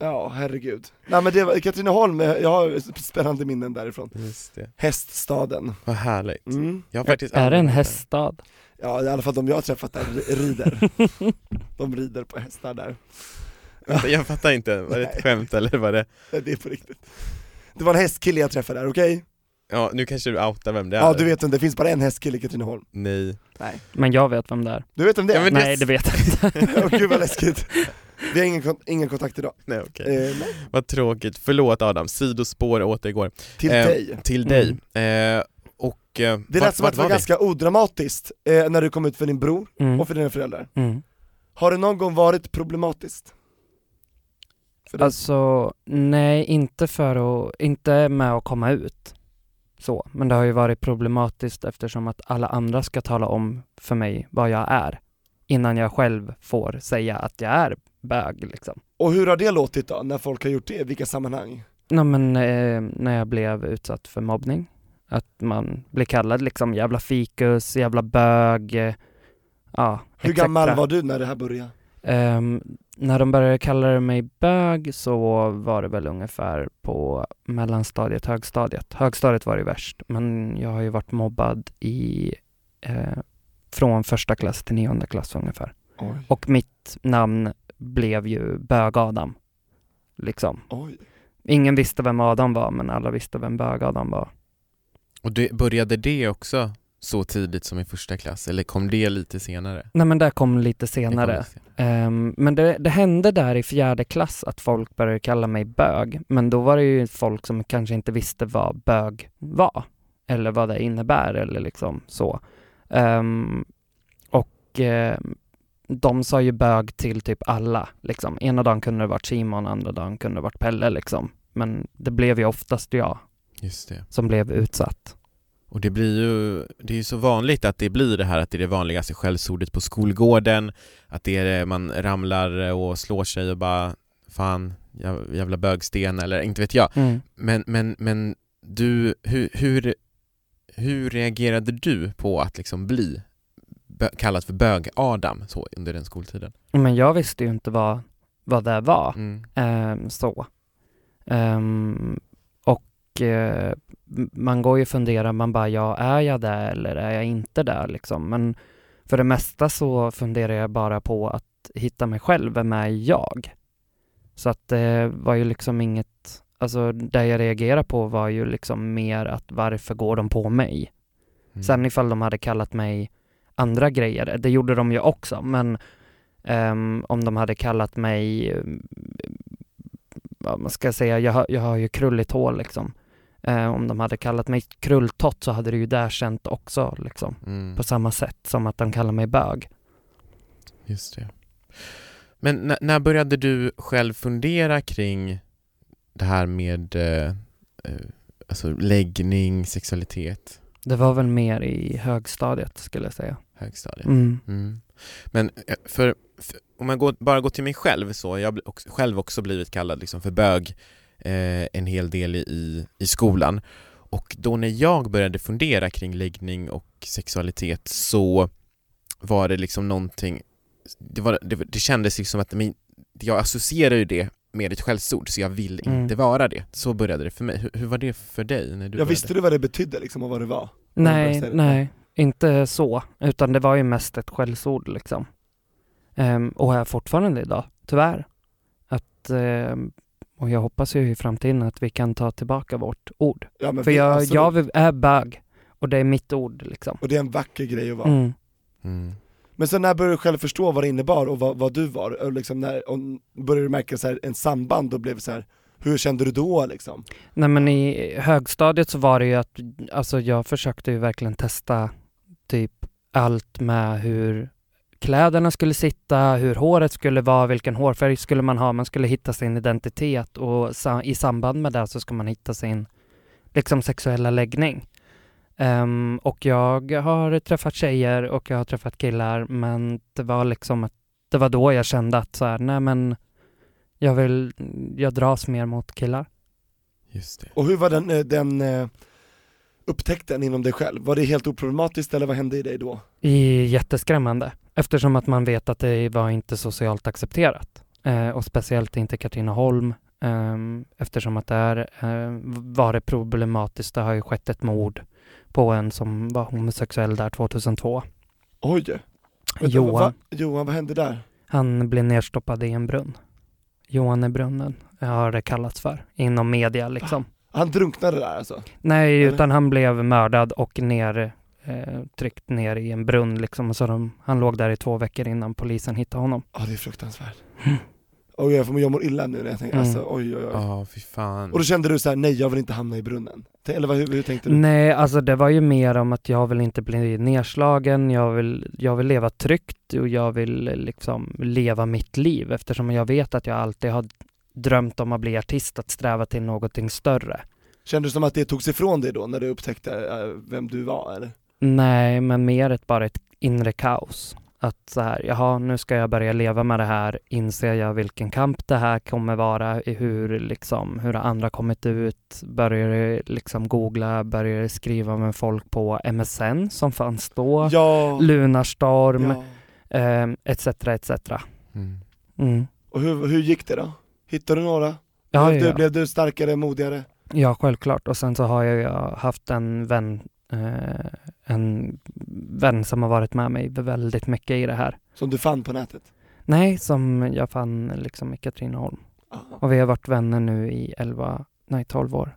Speaker 2: Ja, herregud. Nej men det var, Katrineholm, eh, jag har spännande minnen därifrån.
Speaker 3: Just det.
Speaker 2: Häststaden.
Speaker 3: Vad härligt.
Speaker 2: Mm.
Speaker 3: Jag har faktiskt
Speaker 1: Är det
Speaker 3: aldrig
Speaker 1: en
Speaker 3: varit där.
Speaker 1: häststad?
Speaker 2: Ja, i alla fall de jag har träffat där ri- rider. De rider på hästar där.
Speaker 3: Vänta, Jag fattar inte, var det ett
Speaker 2: Nej.
Speaker 3: skämt eller var det?
Speaker 2: Nej, Eh, Det är på riktigt. Det var en hästkille jag träffade där, okej?
Speaker 3: Ja, nu kanske du outar vem det är?
Speaker 2: Ja du vet vem, det finns bara en hästkille i Katrineholm.
Speaker 3: Nej.
Speaker 1: Men jag vet vem det är.
Speaker 2: Du vet vem det
Speaker 3: Ja,
Speaker 2: är?
Speaker 3: men
Speaker 1: Nej det vet jag inte.
Speaker 2: Åh gud vad läskigt. Vi har ingen, kon- ingen kontakt idag.
Speaker 3: Nej okej.
Speaker 2: Eh, nej.
Speaker 3: Vad tråkigt, förlåt Adam, sidospår återgår.
Speaker 2: Till
Speaker 3: Eh,
Speaker 2: dig.
Speaker 3: Till dig. Eh, och... eh,
Speaker 2: Det
Speaker 3: vart-
Speaker 2: lät som
Speaker 3: vart
Speaker 2: att det var,
Speaker 3: vi?
Speaker 2: ganska odramatiskt eh, när du kom ut för din bror
Speaker 1: Mm.
Speaker 2: och för dina föräldrar.
Speaker 1: Mm.
Speaker 2: Har det någon gång varit problematiskt? För dig?
Speaker 1: Alltså, nej inte för att, inte med att komma ut. Så, men det har ju varit problematiskt eftersom att alla andra ska tala om för mig vad jag är innan jag själv får säga att jag är bög liksom.
Speaker 2: Och hur har det låtit då, när folk har gjort det? I vilka sammanhang?
Speaker 1: Nej men eh, när jag blev utsatt för mobbning, att man blir kallad liksom jävla fikus, jävla bög, eh, ja.
Speaker 2: Hur gammal var du när det här började?
Speaker 1: Ehm, när de började kalla mig bög så var det väl ungefär på mellanstadiet, högstadiet. Högstadiet var det värst, men jag har ju varit mobbad i, eh, från första klass till nionde klass ungefär.
Speaker 2: Oj.
Speaker 1: Och mitt namn blev ju Bög-Adam. Liksom.
Speaker 2: Oj.
Speaker 1: Ingen visste vem Adam var, men alla visste vem Bög-Adam var.
Speaker 3: Och det, började det också så tidigt som i första klass, eller kom det lite senare?
Speaker 1: Nej men det kom lite
Speaker 3: Det kom
Speaker 1: senare.
Speaker 3: lite senare.
Speaker 1: Ehm, men det, det hände där i fjärde klass att folk började kalla mig bög, men då var det ju folk som kanske inte visste vad bög var, eller vad det innebär eller liksom så. Ehm, och ehm, de sa ju bög till typ alla, liksom. Ena dagen kunde det varit Simon, andra dagen kunde det varit Pelle liksom. Men det blev ju oftast jag
Speaker 3: Just det.
Speaker 1: som blev utsatt.
Speaker 3: Och det blir ju, det är ju så vanligt att det blir det här att det är det vanligaste skällsordet på skolgården, att det är det, man ramlar och slår sig och bara fan, jä- jävla bögsten eller inte vet jag. Men, men, men du, hur, hur, hur reagerade du på att liksom bli bö- kallad för bög-Adam så under den skoltiden?
Speaker 1: Men jag visste ju inte vad, vad det var.
Speaker 3: Mm.
Speaker 1: Ehm, så. Ehm, och eh, m- man går ju och funderar, man bara, ja, är jag där eller är jag inte där liksom? Men för det mesta så funderar jag bara på att hitta mig själv, vem är jag? Så att det var ju liksom inget, alltså det jag reagerade på var ju liksom mer att varför går de på mig?
Speaker 3: Mm.
Speaker 1: Sen ifall de hade kallat mig andra grejer, det gjorde de ju också, men ehm, om de hade kallat mig, ehm, vad man ska säga, jag, har- jag har ju krulligt hår liksom. Eh, om de hade kallat mig krulltott så hade det ju där känt också liksom.
Speaker 3: Mm.
Speaker 1: På samma sätt som att de kallar mig bög.
Speaker 3: Just det. Men n- när började du själv fundera kring det här med eh, eh, alltså läggning, sexualitet,
Speaker 1: Det var väl mer i högstadiet skulle jag säga.
Speaker 3: högstadiet?
Speaker 1: Mm.
Speaker 3: Mm. Men eh, för, för om jag går, bara går till mig själv så har jag bl- också, själv också blivit kallad liksom för bög eh, en hel del i- i, i skolan. Och då när jag började fundera kring läggning och sexualitet så var det liksom någonting det, var, det, det kändes ju som att men, jag associerar ju det med ett skällsord, så jag vill
Speaker 1: Mm.
Speaker 3: inte vara det. Så började det för mig. Hur, hur var det för dig? När du
Speaker 2: Jag
Speaker 3: började?
Speaker 2: visste du vad det betydde liksom och vad det var?
Speaker 1: Nej,
Speaker 2: Började-
Speaker 1: nej, inte så. Utan det var ju mest ett skällsord liksom. Ehm, och är fortfarande idag, tyvärr. Att, ehm, och jag hoppas ju i framtiden att vi kan ta tillbaka vårt ord.
Speaker 2: Ja, men alltså
Speaker 1: För
Speaker 2: vi-
Speaker 1: jag,
Speaker 2: absolut.
Speaker 1: jag är bög och det är mitt ord liksom.
Speaker 2: Och det är en vacker grej att vara.
Speaker 1: Mm.
Speaker 3: Mm.
Speaker 2: Men sen när började du själv förstå vad det innebar och vad, vad du var? Och liksom när, och började du märka så här, en samband och blev så här, hur kände du då liksom?
Speaker 1: Nej men i högstadiet så var det ju att, alltså jag försökte ju verkligen testa typ allt med hur kläderna skulle sitta, hur håret skulle vara, vilken hårfärg skulle man ha, man skulle hitta sin identitet och sa, i samband med det så ska man hitta sin liksom sexuella läggning. Ehm, och jag har träffat tjejer och jag har träffat killar men det var liksom att det var då jag kände att så här, nej men jag vill, jag dras mer mot killar.
Speaker 3: Just det.
Speaker 2: Och hur var den, eh, den eh, upptäckten inom dig själv? Var det helt oproblematiskt eller vad hände i dig då?
Speaker 1: I- Jätteskrämmande, eftersom att man vet att det var inte socialt accepterat. Eh, och speciellt inte Katrineholm, ehm, eftersom att där eh, var det problematiskt. Det har ju skett ett mord på en som var homosexuell där 2002.
Speaker 2: Oj! Vänta,
Speaker 1: Johan.
Speaker 2: vad- Johan, vad hände där?
Speaker 1: Han blev nedstoppad i en brunn. Johannebrunnen har det kallats för inom media liksom.
Speaker 2: Han drunknade där alltså?
Speaker 1: Nej,
Speaker 2: Eller?
Speaker 1: utan han blev mördad och ner, eh, tryckt ner i en brunn liksom. Så de, han låg där i två veckor innan polisen hittade honom.
Speaker 2: Ja det är fruktansvärt. Oj, jag, får, jag mår illa nu när jag tänker,
Speaker 1: Mm.
Speaker 2: alltså oj oj oj.
Speaker 3: Ja, fy fan.
Speaker 2: Och då kände du så här: nej jag vill inte hamna i brunnen? T- Eller vad, hur, hur tänkte du?
Speaker 1: Nej, alltså det var ju mer om att jag vill inte bli nedslagen, jag vill, jag vill leva tryggt och jag vill eh, liksom leva mitt liv eftersom jag vet att jag alltid har drömt om att bli artist, att sträva till någonting större.
Speaker 2: Kände du som att det togs ifrån dig då när du upptäckte eh, vem du var eller?
Speaker 1: Nej, men mer ett, bara ett inre kaos. Att så här, jaha, nu ska jag börja leva med det här, inser jag vilken kamp det här kommer vara, i hur liksom, hur har andra kommit ut, börjar liksom googla, börjar skriva med folk på MSN som fanns då.
Speaker 2: Ja,
Speaker 1: Lunarstorm,
Speaker 2: ja.
Speaker 1: ehm, etc. etc.
Speaker 3: Mm.
Speaker 1: Mm.
Speaker 2: Och hur, hur gick det då? Hittade du några?
Speaker 1: Ja,
Speaker 2: blev,
Speaker 1: ja,
Speaker 2: du,
Speaker 1: ja.
Speaker 2: blev du starkare, modigare?
Speaker 1: ja, självklart. Och sen så har jag ju haft en vän, eh, en vän som har varit med mig väldigt mycket i det här.
Speaker 2: Som du fann på nätet?
Speaker 1: Nej, som jag fann liksom i Katrineholm.
Speaker 2: Ja.
Speaker 1: Och vi har varit vänner nu i 11, nej 12 år.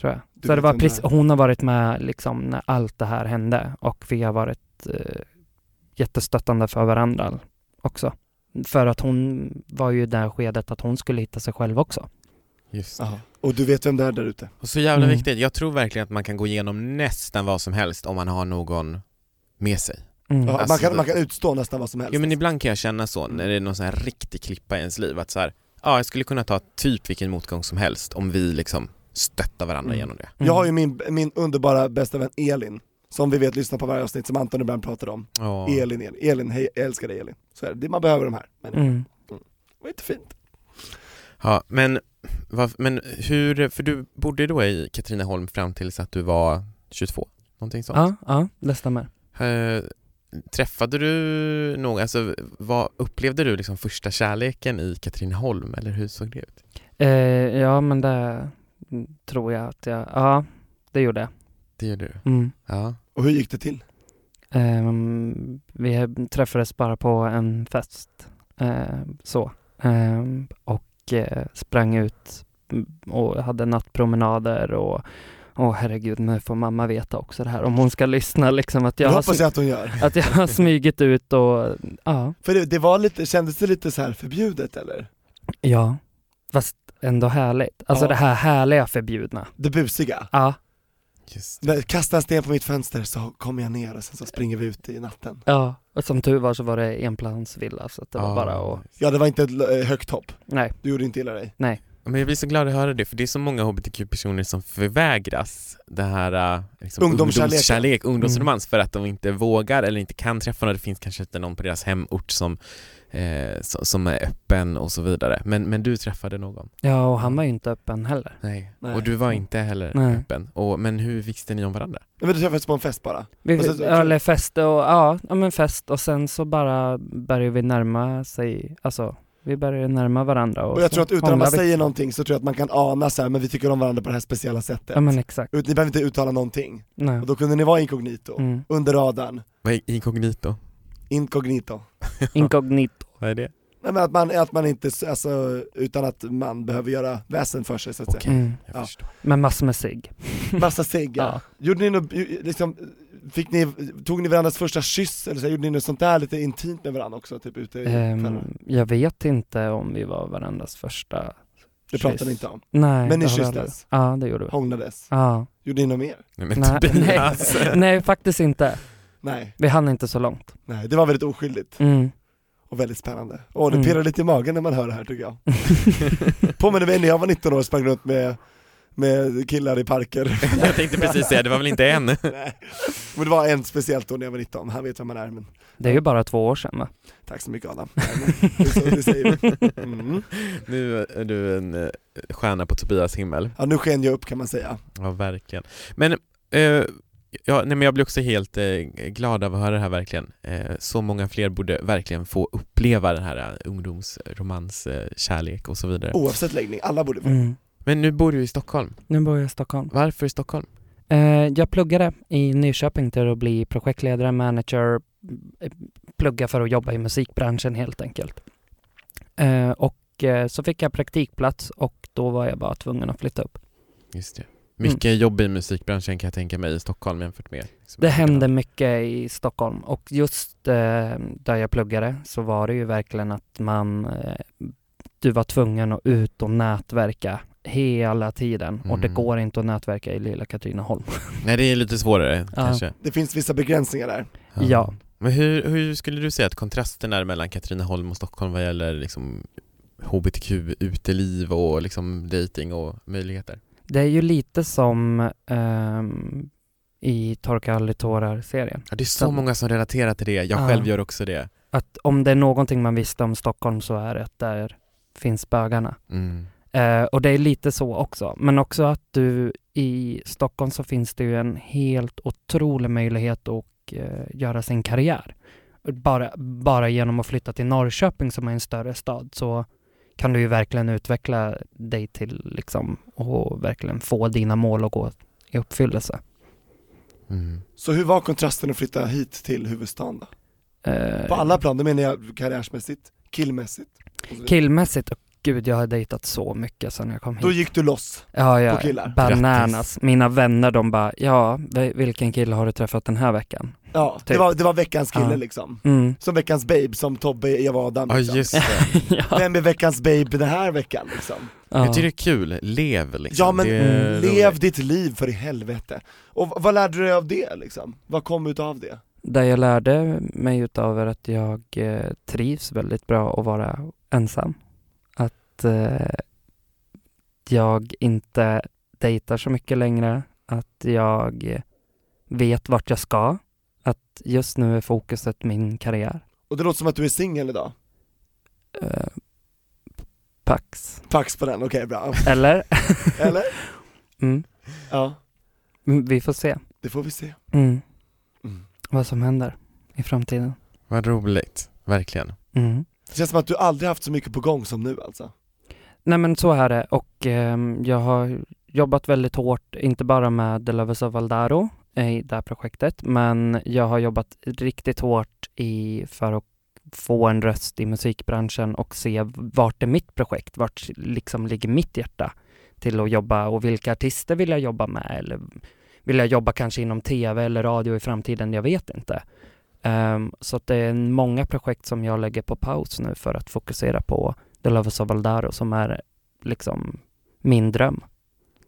Speaker 1: Tror jag.
Speaker 2: Du
Speaker 1: så det
Speaker 2: vet
Speaker 1: var
Speaker 2: vem
Speaker 1: precis,
Speaker 2: det är.
Speaker 1: hon har varit med liksom när allt det här hände och vi har varit eh, jättestöttande för varandra också. För att hon var ju i det här skedet att hon skulle hitta sig själv också.
Speaker 3: Just det.
Speaker 2: Ja. Och du vet vem det är där ute?
Speaker 3: Och så jävla
Speaker 1: Mm.
Speaker 3: viktigt. Jag tror verkligen att man kan gå igenom nästan vad som helst om man har någon med sig.
Speaker 1: Mm.
Speaker 2: Ja, man,
Speaker 3: Alltså,
Speaker 2: kan,
Speaker 3: det-
Speaker 2: man kan utstå nästan vad som helst
Speaker 3: Jo men ibland kan jag känna så när det är någon sån här riktig klippa i ens liv att så här, ja jag skulle kunna ta typ vilken motgång som helst om vi liksom stöttar varandra
Speaker 2: Mm.
Speaker 3: genom det.
Speaker 2: Jag har ju
Speaker 1: Mm.
Speaker 2: min, min underbara bästa vän Elin, som vi vet lyssnar på varje avsnitt som Anton ibland pratar om.
Speaker 3: Ja.
Speaker 2: Elin, Elin, Elin, hej, jag älskar dig Elin. Så är det, Det- man behöver de här. Men
Speaker 1: Mm.
Speaker 2: det var inte fint.
Speaker 3: Ja, men, vad- men hur, för du bodde då i Katrineholm fram tills att du var 22? Någonting sånt?
Speaker 1: Ja, ja, det stämmer.
Speaker 3: Eh, träffade du någon, alltså vad upplevde du liksom första kärleken i Katrineholm eller hur såg det ut?
Speaker 1: Eh, ja, men det tror jag att jag, ja, det gjorde jag.
Speaker 3: Det gjorde du?
Speaker 1: Mm.
Speaker 3: Ja.
Speaker 2: Och hur gick det till?
Speaker 1: Ehm, vi träffades bara på en fest, ehm, så. Ehm, och eh, sprang ut mm, och hade nattpromenader och Åh herregud, nu får mamma veta också det här om hon ska lyssna liksom att jag,
Speaker 2: det
Speaker 1: har,
Speaker 2: hoppas
Speaker 1: sm-
Speaker 2: jag att hon gör.
Speaker 1: att jag har smugit ut och ja,
Speaker 2: För det, det var lite, kändes det lite så här förbjudet eller?
Speaker 1: ja, fast ändå härligt. Alltså
Speaker 2: Ja.
Speaker 1: det här härliga förbjudna.
Speaker 2: Det busiga.
Speaker 1: Ja,
Speaker 3: Just
Speaker 2: När- Kasta en sten på mitt fönster så kommer jag ner och sen så springer vi ut i natten.
Speaker 1: ja. Och som tur var så var det enplansvilla så att det var
Speaker 3: Ja.
Speaker 1: bara att,
Speaker 2: Ja det var inte ett eh, högt hopp,
Speaker 1: nej.
Speaker 2: du gjorde inte illa dig.
Speaker 3: Men jag blir så glad att höra det, för det är så många hbtq-personer som förvägras det här eh, liksom,
Speaker 2: Ungdomskärleken. Mm.
Speaker 3: ungdomskärlek, ungdomsromans för att de inte vågar eller inte kan träffa någon. Det finns kanske inte någon på deras hemort som eh, so- som är öppen och så vidare. Men, men du träffade någon?
Speaker 1: Ja, och han var ju inte öppen heller.
Speaker 3: Nej.
Speaker 2: Nej.
Speaker 3: Och du var inte heller
Speaker 1: Nej.
Speaker 3: öppen. Och, men hur visste ni om varandra?
Speaker 2: Nej, men du träffades på en fest bara.
Speaker 1: Vi,
Speaker 2: Och sen så-
Speaker 1: eller fest och, ja, ja men fest och sen så bara började vi närma sig, alltså vi började närma varandra och,
Speaker 2: Och jag
Speaker 1: så
Speaker 2: tror att utan att man
Speaker 1: hånglade vi.
Speaker 2: säger någonting så tror jag att man kan ana så här, men vi tycker om varandra på det här speciella sättet.
Speaker 1: Ja men exakt,
Speaker 2: Ut- Ni behöver inte uttala någonting.
Speaker 1: nej.
Speaker 2: Och då kunde ni vara inkognito,
Speaker 1: Mm.
Speaker 2: under radarn,
Speaker 3: Vad är inkognito?
Speaker 2: inkognito.
Speaker 1: Inkognito.
Speaker 3: Vad är det?
Speaker 2: Nej men att man, att man inte, s- alltså utan att man behöver göra väsen för sig så att säga.
Speaker 3: Okej.
Speaker 1: Mm.
Speaker 3: Jag
Speaker 2: Ja.
Speaker 3: förstår.
Speaker 1: Med massor med cigg.
Speaker 2: Massa cigg ja.
Speaker 1: Ja.
Speaker 2: Gjorde ni något, ju- liksom, fick ni, tog ni varandras första kyss eller så här, gjorde ni något sånt där lite intimt med varandra också, typ ute i
Speaker 1: Ehm,
Speaker 2: kvällen?
Speaker 1: jag vet inte om vi var varandras första
Speaker 2: Det pratade ni inte om.
Speaker 1: Nej.
Speaker 2: Men ni
Speaker 1: det har vi
Speaker 2: kysstes?
Speaker 1: aldrig. Ja det gjorde vi.
Speaker 2: Hånglades?
Speaker 1: Ja.
Speaker 2: Gjorde ni något mer?
Speaker 3: Nej men alltså,
Speaker 1: Nej,
Speaker 3: Tobias!
Speaker 1: nej, nej faktiskt inte.
Speaker 2: Nej,
Speaker 1: Vi hann inte så långt.
Speaker 2: nej, det var väldigt oskyldigt
Speaker 1: Mm.
Speaker 2: och väldigt spännande. Åh, det
Speaker 1: Mm.
Speaker 2: pirrar lite i magen när man hör det här tycker jag. Påminner mig när jag var 19 år och sprang runt med, med killar i parker.
Speaker 3: Jag tänkte precis säga, det var väl inte en?
Speaker 2: Nej. Men det var en speciellt då när jag var 19, han vet vem man är men
Speaker 1: Det är ju bara två år sedan va?
Speaker 2: tack så mycket Adam. Nej, men, det är så- det säger vi. Mm.
Speaker 3: Nu är du en eh, stjärna på Tobias himmel.
Speaker 2: Ja nu sken jag upp kan man säga.
Speaker 3: Ja, verkligen. Men, eh, ja, nej, men jag blir också helt eh, glad av att höra det här verkligen. Eh, så många fler borde verkligen få uppleva den här eh, ungdomsromans, eh, kärlek och så vidare.
Speaker 2: Oavsett läggning, alla borde få.
Speaker 1: Mm.
Speaker 3: Men nu bor du i Stockholm.
Speaker 1: Nu bor jag i Stockholm.
Speaker 3: Varför i Stockholm?
Speaker 1: Eh, jag pluggade i Nyköping till att bli projektledare, manager, eh, plugga för att jobba i musikbranschen helt enkelt. Eh, och eh, så fick jag praktikplats och då var jag bara tvungen att flytta upp.
Speaker 3: Just det. Mycket jobb i musikbranschen kan jag tänka mig i Stockholm jämfört med liksom,
Speaker 1: Det hände mycket i Stockholm och just eh, där jag pluggade så var det ju verkligen att man, eh, du var tvungen att ut och nätverka hela tiden och det
Speaker 3: Mm.
Speaker 1: går inte att nätverka i lilla Katrineholm.
Speaker 3: Nej det är lite svårare
Speaker 1: Ja.
Speaker 3: kanske.
Speaker 2: Det finns vissa begränsningar där.
Speaker 1: Ja.
Speaker 3: Men hur, hur skulle du säga att kontrasten är mellan Katrineholm och Stockholm vad gäller liksom hbtq-uteliv och liksom dating och möjligheter?
Speaker 1: Det är ju lite som ehm, i Torka aldrig tårar-serien.
Speaker 3: Ja, det är så många som relaterar till det, jag
Speaker 1: Ja.
Speaker 3: själv gör också det.
Speaker 1: Att om det är någonting man visste om Stockholm så är det att där finns bögarna.
Speaker 3: Mm.
Speaker 1: Eh, och det är lite så också. Men också att du i Stockholm så finns det ju en helt otrolig möjlighet att eh, göra sin karriär. Bara, bara genom att flytta till Norrköping som är en större stad så kan du ju verkligen utveckla dig till liksom och verkligen få dina mål att gå i uppfyllelse.
Speaker 3: Mm.
Speaker 2: Så hur var kontrasten att flytta hit till huvudstaden då?
Speaker 1: Eh,
Speaker 2: På alla plan, då menar jag karriärsmässigt, killmässigt. och så vidare.
Speaker 1: Killmässigt, och gud jag har dejtat så mycket sen jag kom hit.
Speaker 2: Då gick du loss.
Speaker 1: ja, ja,
Speaker 2: på killar.
Speaker 1: Bananas.
Speaker 3: Grattis.
Speaker 1: Mina vänner de bara, ja vi- vilken kille har du träffat den här veckan?
Speaker 2: Ja, det,
Speaker 1: Typ.
Speaker 2: var, det var veckans kille
Speaker 1: Ja.
Speaker 2: liksom.
Speaker 1: Mm.
Speaker 2: Som veckans babe, som Tobbe, Eva och Adam
Speaker 3: Ja
Speaker 2: liksom.
Speaker 3: just det.
Speaker 1: ja.
Speaker 2: Vem är veckans babe den här veckan liksom?
Speaker 3: Jag
Speaker 1: Ja.
Speaker 3: tycker det är kul, lev liksom.
Speaker 2: Ja men
Speaker 3: det är
Speaker 1: mm,
Speaker 2: lev
Speaker 3: roligt.
Speaker 2: ditt liv för i helvete. Och v- vad lärde du dig av det liksom? Vad kom utav det?
Speaker 1: Det jag lärde mig utav är att jag eh, trivs väldigt bra att vara ensam. Att eh, jag inte dejtar så mycket längre. Att jag vet vart jag ska. Att just nu är fokuset min karriär.
Speaker 2: Och det låter som att du är singel idag.
Speaker 1: Eh, Pax.
Speaker 2: Pax på den, okej bra.
Speaker 1: Eller?
Speaker 2: Eller?
Speaker 1: Mm.
Speaker 2: Ja,
Speaker 1: Mm, Vi får se
Speaker 2: det får vi se.
Speaker 1: mm.
Speaker 2: Mm.
Speaker 1: vad som händer i framtiden.
Speaker 3: Vad roligt, verkligen.
Speaker 1: Mm.
Speaker 2: Det känns som att du aldrig haft så mycket på gång som nu alltså.
Speaker 1: Nej men så är det och ehm, jag har jobbat väldigt hårt, inte bara med De la Vesa Valdaro eh, i det här projektet, men jag har jobbat riktigt hårt i, för att få en röst i musikbranschen och se vart är mitt projekt, vart liksom ligger mitt hjärta till att jobba och vilka artister vill jag jobba med eller vill jag jobba kanske inom tv eller radio i framtiden, jag vet inte. Ehm, så att det är många projekt som jag lägger på paus nu för att fokusera på The Lovers of Valdaro som är liksom min dröm.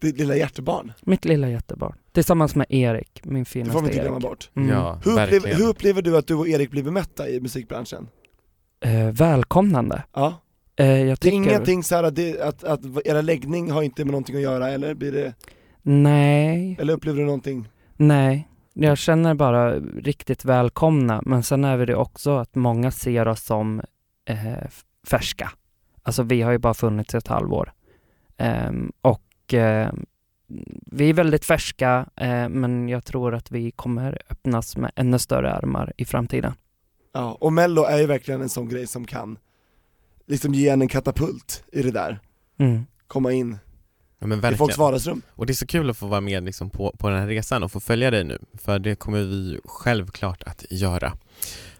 Speaker 2: Ditt lilla hjärtebarn.
Speaker 1: Mitt lilla jättebarn. Tillsammans med Erik, min
Speaker 2: Det
Speaker 1: finaste
Speaker 2: får man inte
Speaker 1: Erik.
Speaker 2: glömma bort.
Speaker 1: Mm.
Speaker 3: Ja,
Speaker 2: Hur, upplev,
Speaker 3: verkligen.
Speaker 2: hur upplever du att du och Erik blir bemötta i musikbranschen?
Speaker 1: Eh, välkomnande.
Speaker 2: Ja,
Speaker 1: Eh, jag
Speaker 2: det är
Speaker 1: tycker...
Speaker 2: ingenting så här att, det, att, att era läggning har inte med någonting att göra eller? Blir det,
Speaker 1: Nej,
Speaker 2: eller upplever du någonting?
Speaker 1: nej. Jag känner bara riktigt välkomna, men sen är det också att många ser oss som eh, f- färska. Alltså vi har ju bara funnits i ett halvår. Ehm, och eh, vi är väldigt färska eh, men jag tror att vi kommer öppnas med ännu större armar i framtiden.
Speaker 2: Ja, och mello är ju verkligen en sån grej som kan liksom ge en en katapult i det där,
Speaker 1: Mm.
Speaker 2: komma in
Speaker 3: Ja, men
Speaker 2: i folks
Speaker 3: verkligen.
Speaker 2: vardagsrum.
Speaker 3: Och det är så kul att få vara med liksom på, på den här resan och få följa dig nu, för det kommer vi självklart att göra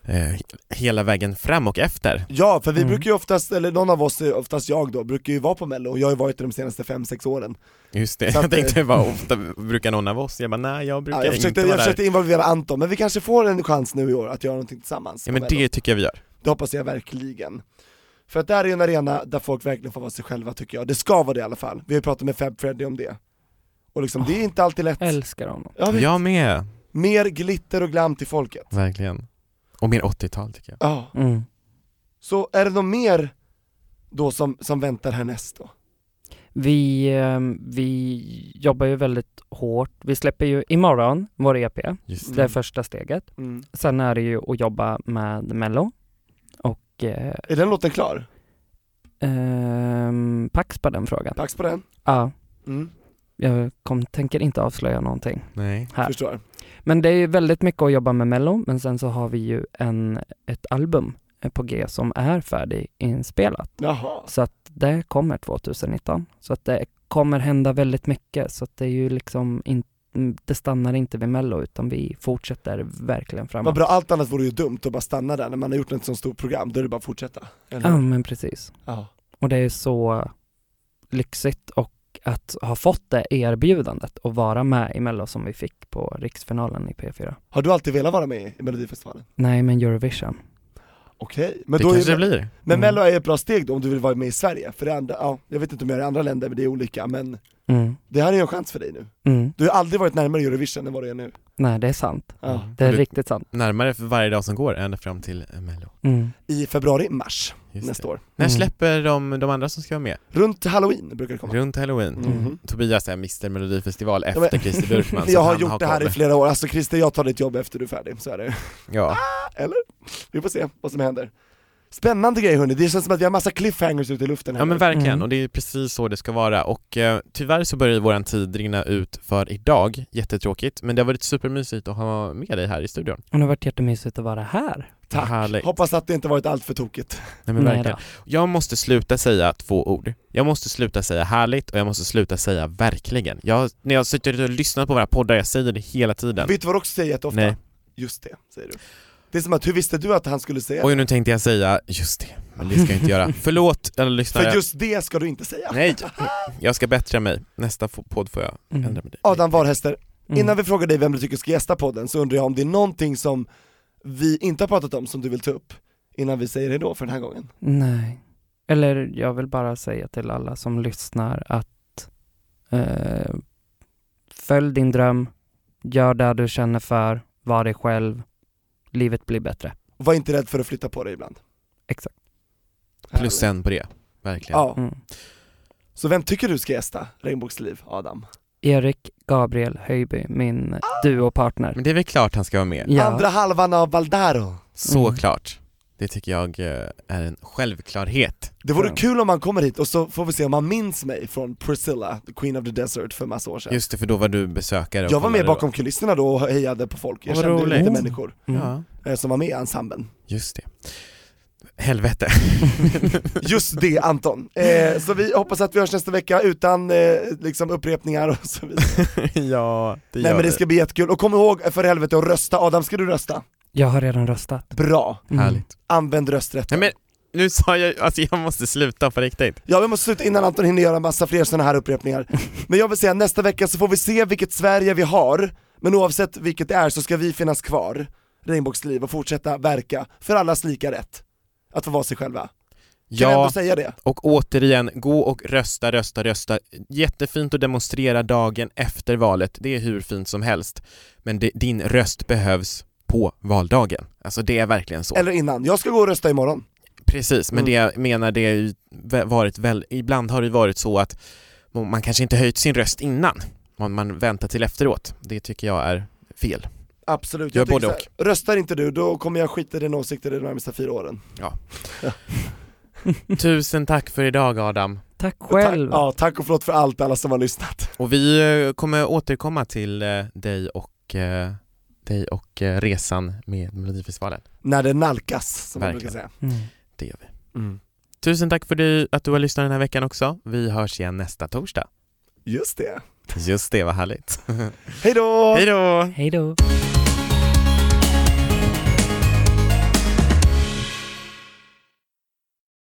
Speaker 3: eh, hela vägen fram och efter.
Speaker 2: Ja, för vi
Speaker 1: Mm.
Speaker 2: brukar ju oftast, eller någon av oss, oftast jag då, brukar ju vara på mello och jag har ju varit det de senaste 5-6 åren.
Speaker 3: Just det,
Speaker 2: Så att
Speaker 3: jag
Speaker 2: det-
Speaker 3: tänkte bara ofta brukar någon av oss, jag bara nej jag brukar
Speaker 2: Ja, jag försökte,
Speaker 3: inte vara
Speaker 2: jag
Speaker 3: där.
Speaker 2: försökte involvera Anton, men vi kanske får en chans nu i år att göra någonting tillsammans.
Speaker 3: Ja
Speaker 2: på
Speaker 3: men
Speaker 2: Mello.
Speaker 3: det tycker jag vi gör.
Speaker 2: Det hoppas jag verkligen. För att det här är ju en arena där folk verkligen får vara sig själva tycker jag, det ska vara det i alla fall. Vi har ju pratat med Fab Freddy om det. Och liksom,
Speaker 3: Ah,
Speaker 2: det är inte alltid lätt.
Speaker 1: Älskar honom.
Speaker 2: Ja, vi-
Speaker 3: Jag med,
Speaker 2: Mer glitter och glam till folket.
Speaker 3: verkligen. Och mer 80-tal tycker jag.
Speaker 2: Ja.
Speaker 1: Mm.
Speaker 2: Så är det något mer då som, som väntar härnäst då?
Speaker 1: Vi, eh, vi jobbar ju väldigt hårt. Vi släpper ju imorgon vår EP,
Speaker 3: Just
Speaker 1: det är
Speaker 3: det.
Speaker 1: första steget. Sen är det ju att jobba med Mello och eh,
Speaker 2: Är den låten klar?
Speaker 1: ehm, pax på den frågan.
Speaker 2: Pax på den?
Speaker 1: Ja,
Speaker 2: Mm.
Speaker 1: jag kom, tänker inte avslöja någonting.
Speaker 3: Nej.
Speaker 1: Här.
Speaker 2: Förstår.
Speaker 1: Men det är ju väldigt mycket att jobba med Mello, men sen så har vi ju en, ett album eh, på G som är färdiginspelat.
Speaker 2: Jaha.
Speaker 1: Så att det kommer 2019. Så att det kommer hända väldigt mycket. Så att det är ju liksom in, mm, det stannar inte vid Mello utan vi fortsätter verkligen
Speaker 2: Vad
Speaker 1: framåt.
Speaker 2: bra, allt annat vore ju dumt att bara stanna där när man har gjort ett sånt stort program, då är det bara att fortsätta. Eller?
Speaker 3: Ah.
Speaker 1: Ja men precis.
Speaker 2: Ja.
Speaker 1: Och det är så lyxigt och att ha fått det erbjudandet och vara med i Mello som vi fick på riksfinalen i P4.
Speaker 2: Har du alltid velat vara med i Melodifestivalen?
Speaker 1: Nej men Eurovision.
Speaker 2: Okej, men
Speaker 3: det
Speaker 2: då
Speaker 3: kanske
Speaker 2: är,
Speaker 3: det blir.
Speaker 2: Men
Speaker 1: Mm.
Speaker 2: mello är ett bra steg då om du vill vara med i Sverige, för det andra, ja, jag vet inte om jag är i andra länder, men det är olika, men
Speaker 1: Mm.
Speaker 2: det här är ju en chans för dig nu.
Speaker 1: Mm.
Speaker 2: Du har aldrig varit närmare Eurovision än vad du är nu.
Speaker 1: Nej det är sant.
Speaker 2: Ja.
Speaker 1: Det är
Speaker 3: Du-
Speaker 1: riktigt sant.
Speaker 3: Närmare för varje dag som går, ända fram till eh, Mello.
Speaker 1: Mm.
Speaker 2: I februari, mars
Speaker 3: Just
Speaker 2: nästa
Speaker 3: det.
Speaker 2: år.
Speaker 3: När
Speaker 1: Mm.
Speaker 3: släpper de, de andra som ska vara med?
Speaker 2: Runt halloween brukar det komma.
Speaker 3: Runt halloween?
Speaker 2: Mhm.
Speaker 3: Tobias är Mr Melodifestival
Speaker 2: men-
Speaker 3: efter Christer Björkman så
Speaker 2: Jag har
Speaker 3: han
Speaker 2: gjort det här
Speaker 3: koll.
Speaker 2: i flera år, alltså Christer jag tar ditt jobb efter du är färdig, så är det.
Speaker 3: Ja,
Speaker 2: Vi får se vad som händer. Spännande grej hörni, det känns som att vi har massa cliffhangers ute i luften här
Speaker 3: ja men
Speaker 2: nu.
Speaker 3: verkligen,
Speaker 1: Mm.
Speaker 3: och det är precis så det ska vara och eh, tyvärr så börjar ju våran tid rinna ut för idag, jättetråkigt, men det har varit supermysigt att ha med dig här i studion.
Speaker 1: Och det har varit jättemysigt att vara här.
Speaker 2: Tack.
Speaker 3: Härligt.
Speaker 2: Hoppas att det inte varit allt för tokigt.
Speaker 3: Nej, men
Speaker 1: Nej
Speaker 3: verkligen. Jag måste sluta säga två ord. Jag måste sluta säga härligt och jag måste sluta säga verkligen. Jag, när jag sitter och lyssnar på våra poddar, jag säger det hela tiden.
Speaker 2: Vet du vad du också säger jätteofta?
Speaker 3: Nej.
Speaker 2: Just det, säger du. Det är som att, hur visste du att han skulle säga
Speaker 3: Oj, nu tänkte jag säga just det, men det ska jag inte göra. Förlåt alla lyssnare.
Speaker 2: För just det ska du inte säga.
Speaker 3: Nej, jag ska bättra mig. Nästa fo- podd får jag
Speaker 1: Mm.
Speaker 3: ändra mig.
Speaker 2: Adam Warhäster,
Speaker 1: Mm.
Speaker 2: innan vi frågar dig vem du tycker ska gästa podden så undrar jag om det är någonting som vi inte har pratat om som du vill ta upp innan vi säger hejdå för den här gången.
Speaker 1: Nej. Eller jag vill bara säga till alla som lyssnar att eh, följ din dröm, gör det du känner för, var dig själv, livet blir bättre.
Speaker 2: Var inte rädd för att flytta på dig ibland.
Speaker 1: Exakt.
Speaker 3: Plus en på det, verkligen.
Speaker 2: Ja,
Speaker 1: Mm.
Speaker 2: så vem tycker du ska gästa Regnbågsliv, Adam?
Speaker 1: Erik Gabriel Höjby, min duopartner.
Speaker 3: Men det är väl klart han ska vara med.
Speaker 1: Ja,
Speaker 2: Andra halvan av Valdaro.
Speaker 3: Såklart. Det tycker jag eh, är en självklarhet.
Speaker 2: Det vore
Speaker 1: Ja.
Speaker 2: kul om han kommer hit och så får vi se om han minns mig från Priscilla, the Queen of the Desert för massa år sedan.
Speaker 3: Just det, för då var du besökare och
Speaker 2: jag var med
Speaker 3: kollade då.
Speaker 2: bakom kulisserna då och hejade på folk, jag
Speaker 3: Vad
Speaker 2: kände
Speaker 3: roligt.
Speaker 2: lite
Speaker 1: Oh.
Speaker 2: människor
Speaker 1: mm.
Speaker 3: Ja,
Speaker 2: eh, som var med i ensemblen.
Speaker 3: just det. Helvete.
Speaker 2: Just det Anton! Eh, så vi hoppas att vi hörs nästa vecka utan eh, liksom upprepningar och så vidare.
Speaker 3: ja, det
Speaker 2: Nej men det ska bli jättekul, och kom ihåg för helvete att rösta, Adam ska du rösta?
Speaker 1: jag har redan röstat.
Speaker 2: Bra!
Speaker 1: Mm.
Speaker 3: Härligt.
Speaker 2: Använd rösträtten.
Speaker 3: Nej men, nu sa jag alltså jag måste sluta på riktigt.
Speaker 2: Ja vi måste sluta innan Anton hinner göra massa fler sådana här upprepningar. Men jag vill säga nästa vecka så får vi se vilket Sverige vi har, men oavsett vilket det är så ska vi finnas kvar, Regnbågsliv, och fortsätta verka för allas lika rätt. Att få vara sig själva. Kan jag ändå
Speaker 3: Ja,
Speaker 2: säga det?
Speaker 3: och återigen, gå och rösta, rösta, rösta. Jättefint att demonstrera dagen efter valet, det är hur fint som helst. Men det, din röst behövs på valdagen. Alltså det är verkligen så.
Speaker 2: Eller innan, jag ska gå och rösta imorgon.
Speaker 3: Precis, men
Speaker 2: Mm.
Speaker 3: det jag menar det har ju vä- varit väl, ibland har det varit så att man man kanske inte höjt sin röst innan, man, man väntar till efteråt. Det tycker jag är fel.
Speaker 2: Absolut,
Speaker 3: Gör
Speaker 2: tycker
Speaker 3: både
Speaker 2: så här, Röstar inte du, då kommer jag skita i dina åsikter i de närmaste fyra åren.
Speaker 3: Tusen tack för idag Adam.
Speaker 1: Tack
Speaker 2: Tack,
Speaker 1: själv!
Speaker 2: ja, tack och förlåt för allt, alla som har lyssnat.
Speaker 3: Och vi eh, kommer återkomma till eh, dig och, eh, dig och eh, resan med Melodifestivalen.
Speaker 2: När det nalkas, som man brukar
Speaker 3: Verkligen. Mm.
Speaker 2: säga.
Speaker 1: Mm.
Speaker 3: Det gör vi. Tusen tack för dig att du har lyssnat den här veckan också. Vi hörs igen nästa torsdag.
Speaker 2: Just det.
Speaker 3: Just det, vad härligt.
Speaker 2: Hej då!
Speaker 3: Hej då!
Speaker 1: Hej då!